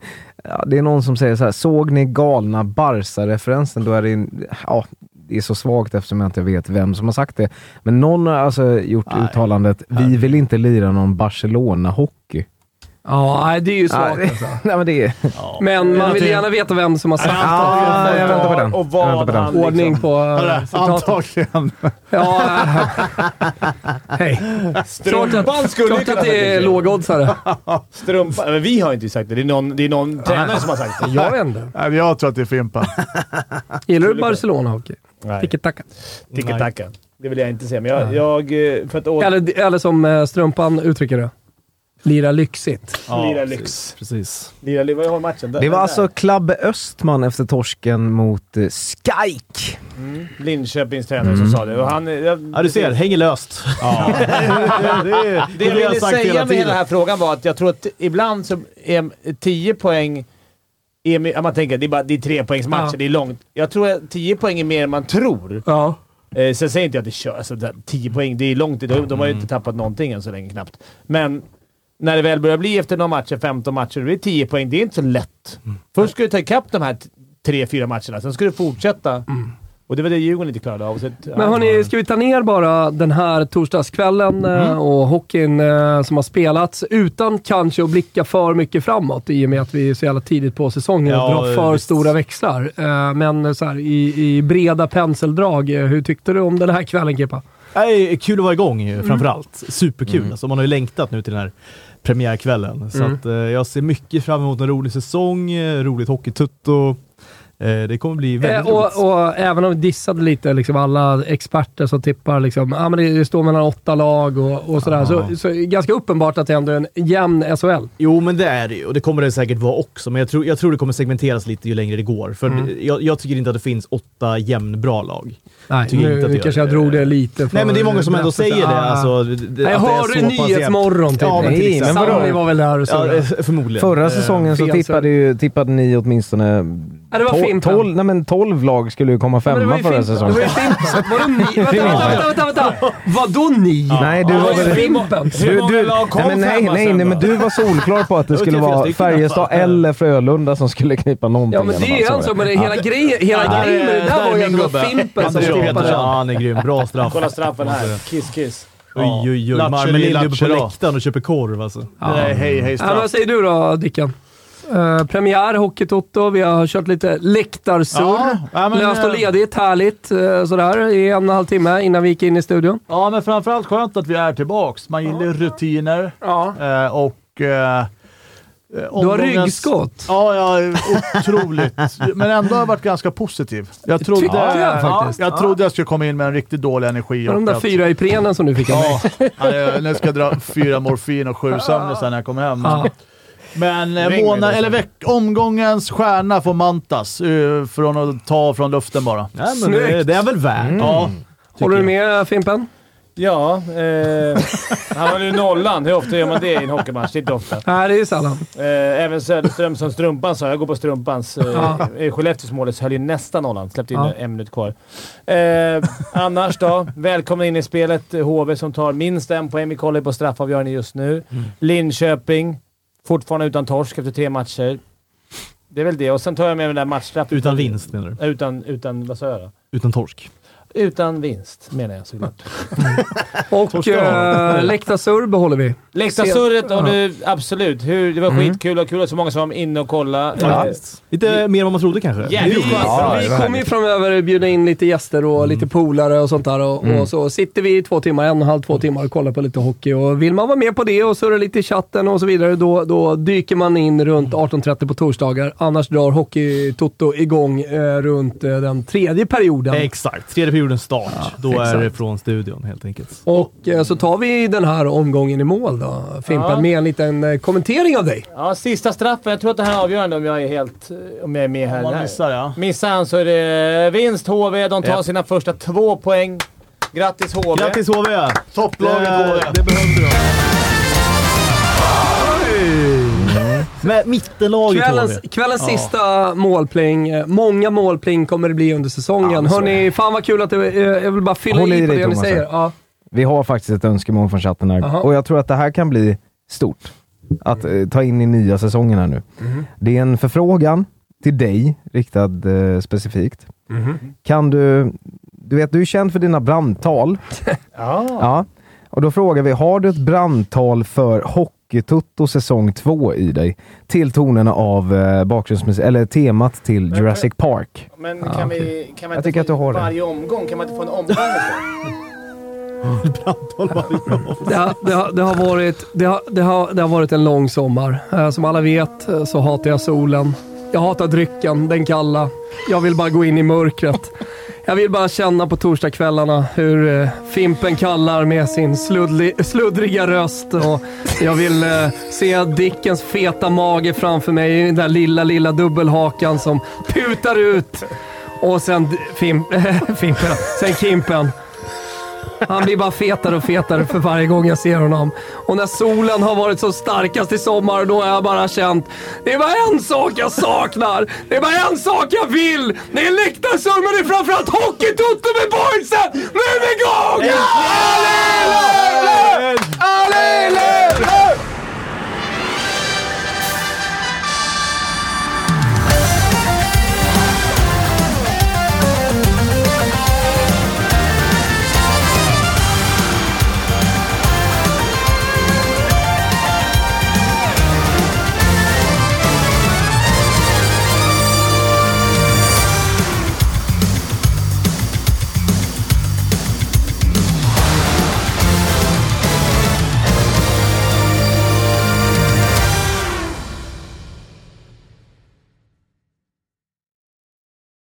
Speaker 6: ja, Det är någon som säger så här, såg ni galna Barca-referensen? Då är det, en- ja, det är så svagt eftersom jag inte vet vem som har sagt det. Men någon har alltså gjort uttalandet, vi vill inte lira någon Barcelona-hockey.
Speaker 1: Ja, nej, det är ju svagt
Speaker 6: Nej,
Speaker 1: alltså.
Speaker 6: <laughs> nej, men det är...
Speaker 1: Men man vill
Speaker 2: någonting-
Speaker 1: gärna veta vem som har sagt
Speaker 6: Ah, jag väntar på den.
Speaker 3: Och
Speaker 6: Jag väntar
Speaker 3: vad
Speaker 6: på den.
Speaker 3: han liksom-
Speaker 1: ordning på
Speaker 2: Eller,
Speaker 1: eh, citatet.
Speaker 2: Antagligen.
Speaker 1: Ja, eh, Hej. <laughs> Klart
Speaker 3: Strumpan
Speaker 1: att,
Speaker 3: skulle
Speaker 1: klart
Speaker 3: kunna
Speaker 1: att det är
Speaker 3: sagt
Speaker 1: lågoddsare.
Speaker 3: <laughs> Strumpan. Men vi har inte sagt det. Det är någon, det är någon tränare som har sagt det.
Speaker 1: Jag vet inte.
Speaker 2: <laughs> Nej, Jag tror att det är Fimpen.
Speaker 1: <laughs> Gillar du Barcelona-hockey?
Speaker 3: Nej.
Speaker 1: Tiki-taka.
Speaker 3: Tiki-taka. Det vill jag inte säga, men jag... jag eh, för att åter...
Speaker 1: Eller, eller som eh, Strumpan uttrycker det. Lira lyxigt.
Speaker 3: Lira lyx.
Speaker 4: Precis.
Speaker 3: Lira lyx. Vad har matchen? Den-
Speaker 6: Det var
Speaker 3: den
Speaker 6: alltså Klabbe Östman efter torsken mot eh, Skaik.
Speaker 3: där. Mm. Linköpings tränare som sa det. Och han... Jag,
Speaker 4: Mm. Ja, du ser. Hänger löst. <laughs>
Speaker 3: Det
Speaker 4: Det
Speaker 3: jag
Speaker 4: har jag
Speaker 3: ville
Speaker 4: sagt
Speaker 3: säga
Speaker 4: hela
Speaker 3: med
Speaker 4: tiden.
Speaker 3: hela den här frågan var att jag tror att ibland så är 10 poäng... Är, my- ja, man tänker det är bara det är trepoängsmatcher,
Speaker 1: Ja.
Speaker 3: det är långt. Jag tror att 10 poäng är mer än man tror.
Speaker 1: Ja.
Speaker 3: Eh, sen säger inte jag att det kör. Alltså, det- 10 poäng, det är långt. De, de har ju inte
Speaker 1: Mm.
Speaker 3: tappat någonting än så länge knappt. Men när det väl börjar bli efter några matcher, 15 matcher, då blir det 10 poäng. Det är inte så lätt.
Speaker 1: Mm.
Speaker 3: Först ska du ta ikapp de här t- tre, fyra matcherna, sen ska du fortsätta. Och det var det Djurgården inte klarade av. Så, att-
Speaker 1: Mm. Men hörni, ska vi ta ner bara den här torsdagskvällen eh,
Speaker 3: Mm.
Speaker 1: och hockeyn eh, som har spelats utan kanske att blicka för mycket framåt i och med att vi är så jävla tidigt på säsongen och
Speaker 2: Ja,
Speaker 1: drar för
Speaker 2: visst.
Speaker 1: stora växlar. Eh, Men eh, så här, i, i breda penseldrag, eh, hur tyckte du om den här kvällen Kippa?
Speaker 4: Nej, kul att vara igång ju, framförallt. Superkul.
Speaker 1: Mm.
Speaker 4: Alltså, man har ju längtat nu till den här premiärkvällen. Så
Speaker 1: Mm.
Speaker 4: att, eh, jag ser mycket fram emot en rolig säsong, eh, roligt hockeytutto. Eh, det kommer bli väldigt
Speaker 1: Eh,
Speaker 4: roligt.
Speaker 1: och, och även om vi dissade lite liksom alla experter som tippar, liksom, ah, men det det står mellan åtta lag och, och sådär, så, så är det ganska uppenbart att det ändå är en jämn SHL.
Speaker 4: Jo, men det är det ju. Och det kommer det säkert vara också. Men jag tror, jag tror det kommer segmenteras lite ju längre det går. För
Speaker 1: Mm.
Speaker 4: jag, jag tycker inte att det finns åtta jämnbra lag.
Speaker 1: Nej,
Speaker 4: tycker inte
Speaker 1: nu
Speaker 4: att det
Speaker 1: kanske
Speaker 4: gör
Speaker 1: jag
Speaker 4: det.
Speaker 1: drog det lite.
Speaker 4: Nej, men det är många som ändå
Speaker 1: bröstet.
Speaker 4: säger det.
Speaker 1: Ah.
Speaker 4: Alltså, det- det-
Speaker 1: jag
Speaker 4: att det är
Speaker 1: hörde
Speaker 4: så pass jämnt.
Speaker 1: Nyhetsmorgon typ.
Speaker 4: Ja, men till
Speaker 1: Nej, men
Speaker 4: exempel.
Speaker 1: Sammy var väl där och
Speaker 4: Ja,
Speaker 1: surrade.
Speaker 4: eh, förmodligen.
Speaker 6: Förra
Speaker 4: Eh,
Speaker 6: säsongen så
Speaker 1: fel
Speaker 6: tippade, ju, tippade ni åtminstone...
Speaker 1: Ja, det var
Speaker 6: tol-
Speaker 1: fint,
Speaker 6: tolv- nej, men 12 lag skulle ju komma
Speaker 1: Men det
Speaker 6: femma
Speaker 1: var ju
Speaker 6: förra
Speaker 1: Fimpen.
Speaker 6: säsongen.
Speaker 1: Det var ju Fimpen. Vadå
Speaker 6: <laughs>
Speaker 1: ni? Vänta, vänta, vänta, vänta, vänta. Vadå ni?
Speaker 6: Nej, du var väl...
Speaker 1: Fimpen.
Speaker 6: Du, du, nej, men nej, nej, nej, men du var solklar på att det
Speaker 1: Det var
Speaker 6: skulle
Speaker 1: tre, fyra
Speaker 6: vara
Speaker 1: stycken i alla
Speaker 6: Färjestad
Speaker 1: fall.
Speaker 6: eller Frölunda som skulle knipa någonting.
Speaker 1: Ja, men
Speaker 6: i alla
Speaker 1: det är
Speaker 6: fall,
Speaker 1: en
Speaker 6: så
Speaker 1: sak,
Speaker 6: var
Speaker 1: men
Speaker 6: det.
Speaker 1: det- hela
Speaker 6: Ja.
Speaker 1: grejen, hela
Speaker 6: Ja.
Speaker 1: grejen med det
Speaker 3: där
Speaker 1: där
Speaker 3: är
Speaker 1: var ju att
Speaker 3: min
Speaker 1: det var
Speaker 3: gubbe.
Speaker 1: Fimpen som
Speaker 3: Anders
Speaker 1: tippade.
Speaker 3: Johansson.
Speaker 4: Ja, han är grym. Bra straff.
Speaker 3: Kolla straffen här. Kiss, kiss.
Speaker 4: Oj, oj, oj.
Speaker 3: Lattjo
Speaker 4: Malmö ligger uppe på
Speaker 3: Lattjo.
Speaker 4: läktaren och köper korv alltså.
Speaker 3: Nej, hej, hej,
Speaker 1: Ja, men vad säger du då, Dickan? Eh, premiär, Hockeytoto. Vi har kört lite läktarsurr.
Speaker 2: Ja, ja, men,
Speaker 1: Löst och
Speaker 2: eh,
Speaker 1: ledigt, härligt. eh, sådär, i en och en halv timme innan vi gick in i studion.
Speaker 2: Ja, men framförallt skönt att vi är tillbaks. Man gillar rutiner. Eh, och... Eh,
Speaker 1: Du har ryggskott.
Speaker 2: Ja, ja, otroligt. Men ändå har jag varit ganska positiv. Jag trodde,
Speaker 1: tyckte jag faktiskt.
Speaker 2: jag trodde jag skulle komma in med en riktigt dålig energi.
Speaker 1: Och de
Speaker 2: och
Speaker 1: där
Speaker 2: att-
Speaker 1: fyra i prenen som du fick av mig.
Speaker 2: Ja, <laughs> ja, det- nu ska jag dra fyra morfin och sju sömnisar när jag kommer hem.
Speaker 1: Ja.
Speaker 2: Men eh,
Speaker 1: Ring mig
Speaker 2: månad,
Speaker 1: då.
Speaker 2: eller veck, omgångens stjärna får Mantas. eh, Från att ta från luften bara. Mm.
Speaker 4: Ja, men det, det är väl värt.
Speaker 2: Ja.
Speaker 1: Håller du med Fimpen?
Speaker 3: Ja, eh, han var ju nollan. Hur ofta gör man det i en hockeymatch? Det är inte ofta.
Speaker 1: Nej, det är ju sällan.
Speaker 3: Eh, även Söderström som strumpan sa. Jag går på strumpans. Eh,
Speaker 1: Ja.
Speaker 3: eh, Skellefteås målis höll ju nästan nollan. Släppte in
Speaker 1: Ja.
Speaker 3: en minut kvar. Eh, annars då? Välkomna in i spelet. HV som tar minst en poäng. Vi kollar ju på straffavgörande just nu.
Speaker 4: Mm.
Speaker 3: Linköping, fortfarande utan torsk efter tre matcher. Det är väl det. Och sen tar jag med den där matchstraffen.
Speaker 4: Utan vinst menar du?
Speaker 3: Eh, Utan, utan, vad sa jag då?
Speaker 4: Utan torsk.
Speaker 3: Utan vinst, menar jag <laughs> såklart.
Speaker 1: Och äh, läktarsurr behåller vi.
Speaker 3: Läktarsurret,
Speaker 1: Ja.
Speaker 3: och du, absolut. Hur, det var skitkul och kul att så många som var inne och kollade.
Speaker 4: Mm. Ja.
Speaker 3: Eh,
Speaker 4: Lite mer än vad man trodde kanske.
Speaker 3: Jävligt
Speaker 4: Nu-
Speaker 3: skönt.
Speaker 1: vi kommer ju framöver bjuda in lite gäster och lite polare och sånt där. Och, och så sitter vi i två timmar, en och en halv, två timmar och kollar på lite hockey. Och vill man vara med på det och surra lite i chatten och så vidare, då, då dyker man in runt 18.30 på torsdagar. Annars drar Hockeytoto igång eh, runt eh, den tredje perioden.
Speaker 4: Exakt. Tredje periodens start. Då är det
Speaker 1: exakt.
Speaker 4: från studion helt enkelt.
Speaker 1: och eh, så tar vi den här omgången i mål då, Fimpen,
Speaker 3: Ja.
Speaker 1: med en liten eh, kommentering av dig.
Speaker 3: Ja, sista straffen. Jag tror att det här är avgörande om jag är, helt, eh, om jag är med här.
Speaker 2: Om man
Speaker 3: Nej.
Speaker 2: missar ja.
Speaker 3: Missar han så är det eh, vinst HV. De tar sina första två poäng. Grattis HV!
Speaker 4: Grattis HV!
Speaker 2: Topplaget HV.
Speaker 4: Det, det behövde de. Men mittenlaget
Speaker 1: Kvällens,
Speaker 4: HV.
Speaker 1: kvällens sista målpling. Eh, Många målpling kommer det bli under säsongen. Hörni, fan vad kul att det, eh, Jag vill bara fylla
Speaker 6: Håll
Speaker 1: i
Speaker 6: i
Speaker 1: på
Speaker 6: dig,
Speaker 1: det ni
Speaker 6: Thomas,
Speaker 1: säger.
Speaker 6: här.
Speaker 1: Ja.
Speaker 6: Vi har faktiskt ett önskemål från chatten här
Speaker 1: Jaha.
Speaker 6: och jag tror att det här kan bli stort. Att eh, ta in i nya säsongen här nu.
Speaker 1: Mhm.
Speaker 6: Det är en förfrågan till dig, riktad eh, specifikt.
Speaker 1: Mhm.
Speaker 6: Kan du... Du vet, du är känd för dina brandtal.
Speaker 1: <laughs>
Speaker 3: Ja.
Speaker 6: Ja. Och då frågar vi, har du ett brandtal för Hockeytutto säsong 2 i dig? Till tonerna av eh, bakgrundsmusik, eller temat till Jurassic Park.
Speaker 3: Men
Speaker 6: Ja,
Speaker 3: kan
Speaker 6: okej.
Speaker 3: vi... Kan man
Speaker 6: Jag
Speaker 3: inte
Speaker 6: tycker
Speaker 3: få
Speaker 6: att du har det.
Speaker 3: Varje omgång? Kan man inte få
Speaker 2: <laughs>
Speaker 3: en omgång?
Speaker 1: Det, har, det, har, det, har varit, det, har, det, har, det har varit en lång sommar. Eh, Som alla vet eh, så hatar jag solen. Jag hatar drycken, den kalla. Jag vill bara gå in i mörkret. Jag vill bara känna på torsdagskvällarna hur eh, Fimpen kallar med sin sluddli- sluddriga röst. Och jag vill eh, se Dickens feta mage framför mig i den där lilla, lilla dubbelhakan som putar ut. Och sen d- Fim, <laughs> Fimpen, sen Kimpen. Han blir bara fetare och fetare för varje gång jag ser honom. Och när solen har varit som starkast i sommar, då har jag bara känt det är bara en sak jag saknar. Det är bara en sak jag vill. Det är läktarsurr, men det är framförallt hockeytutto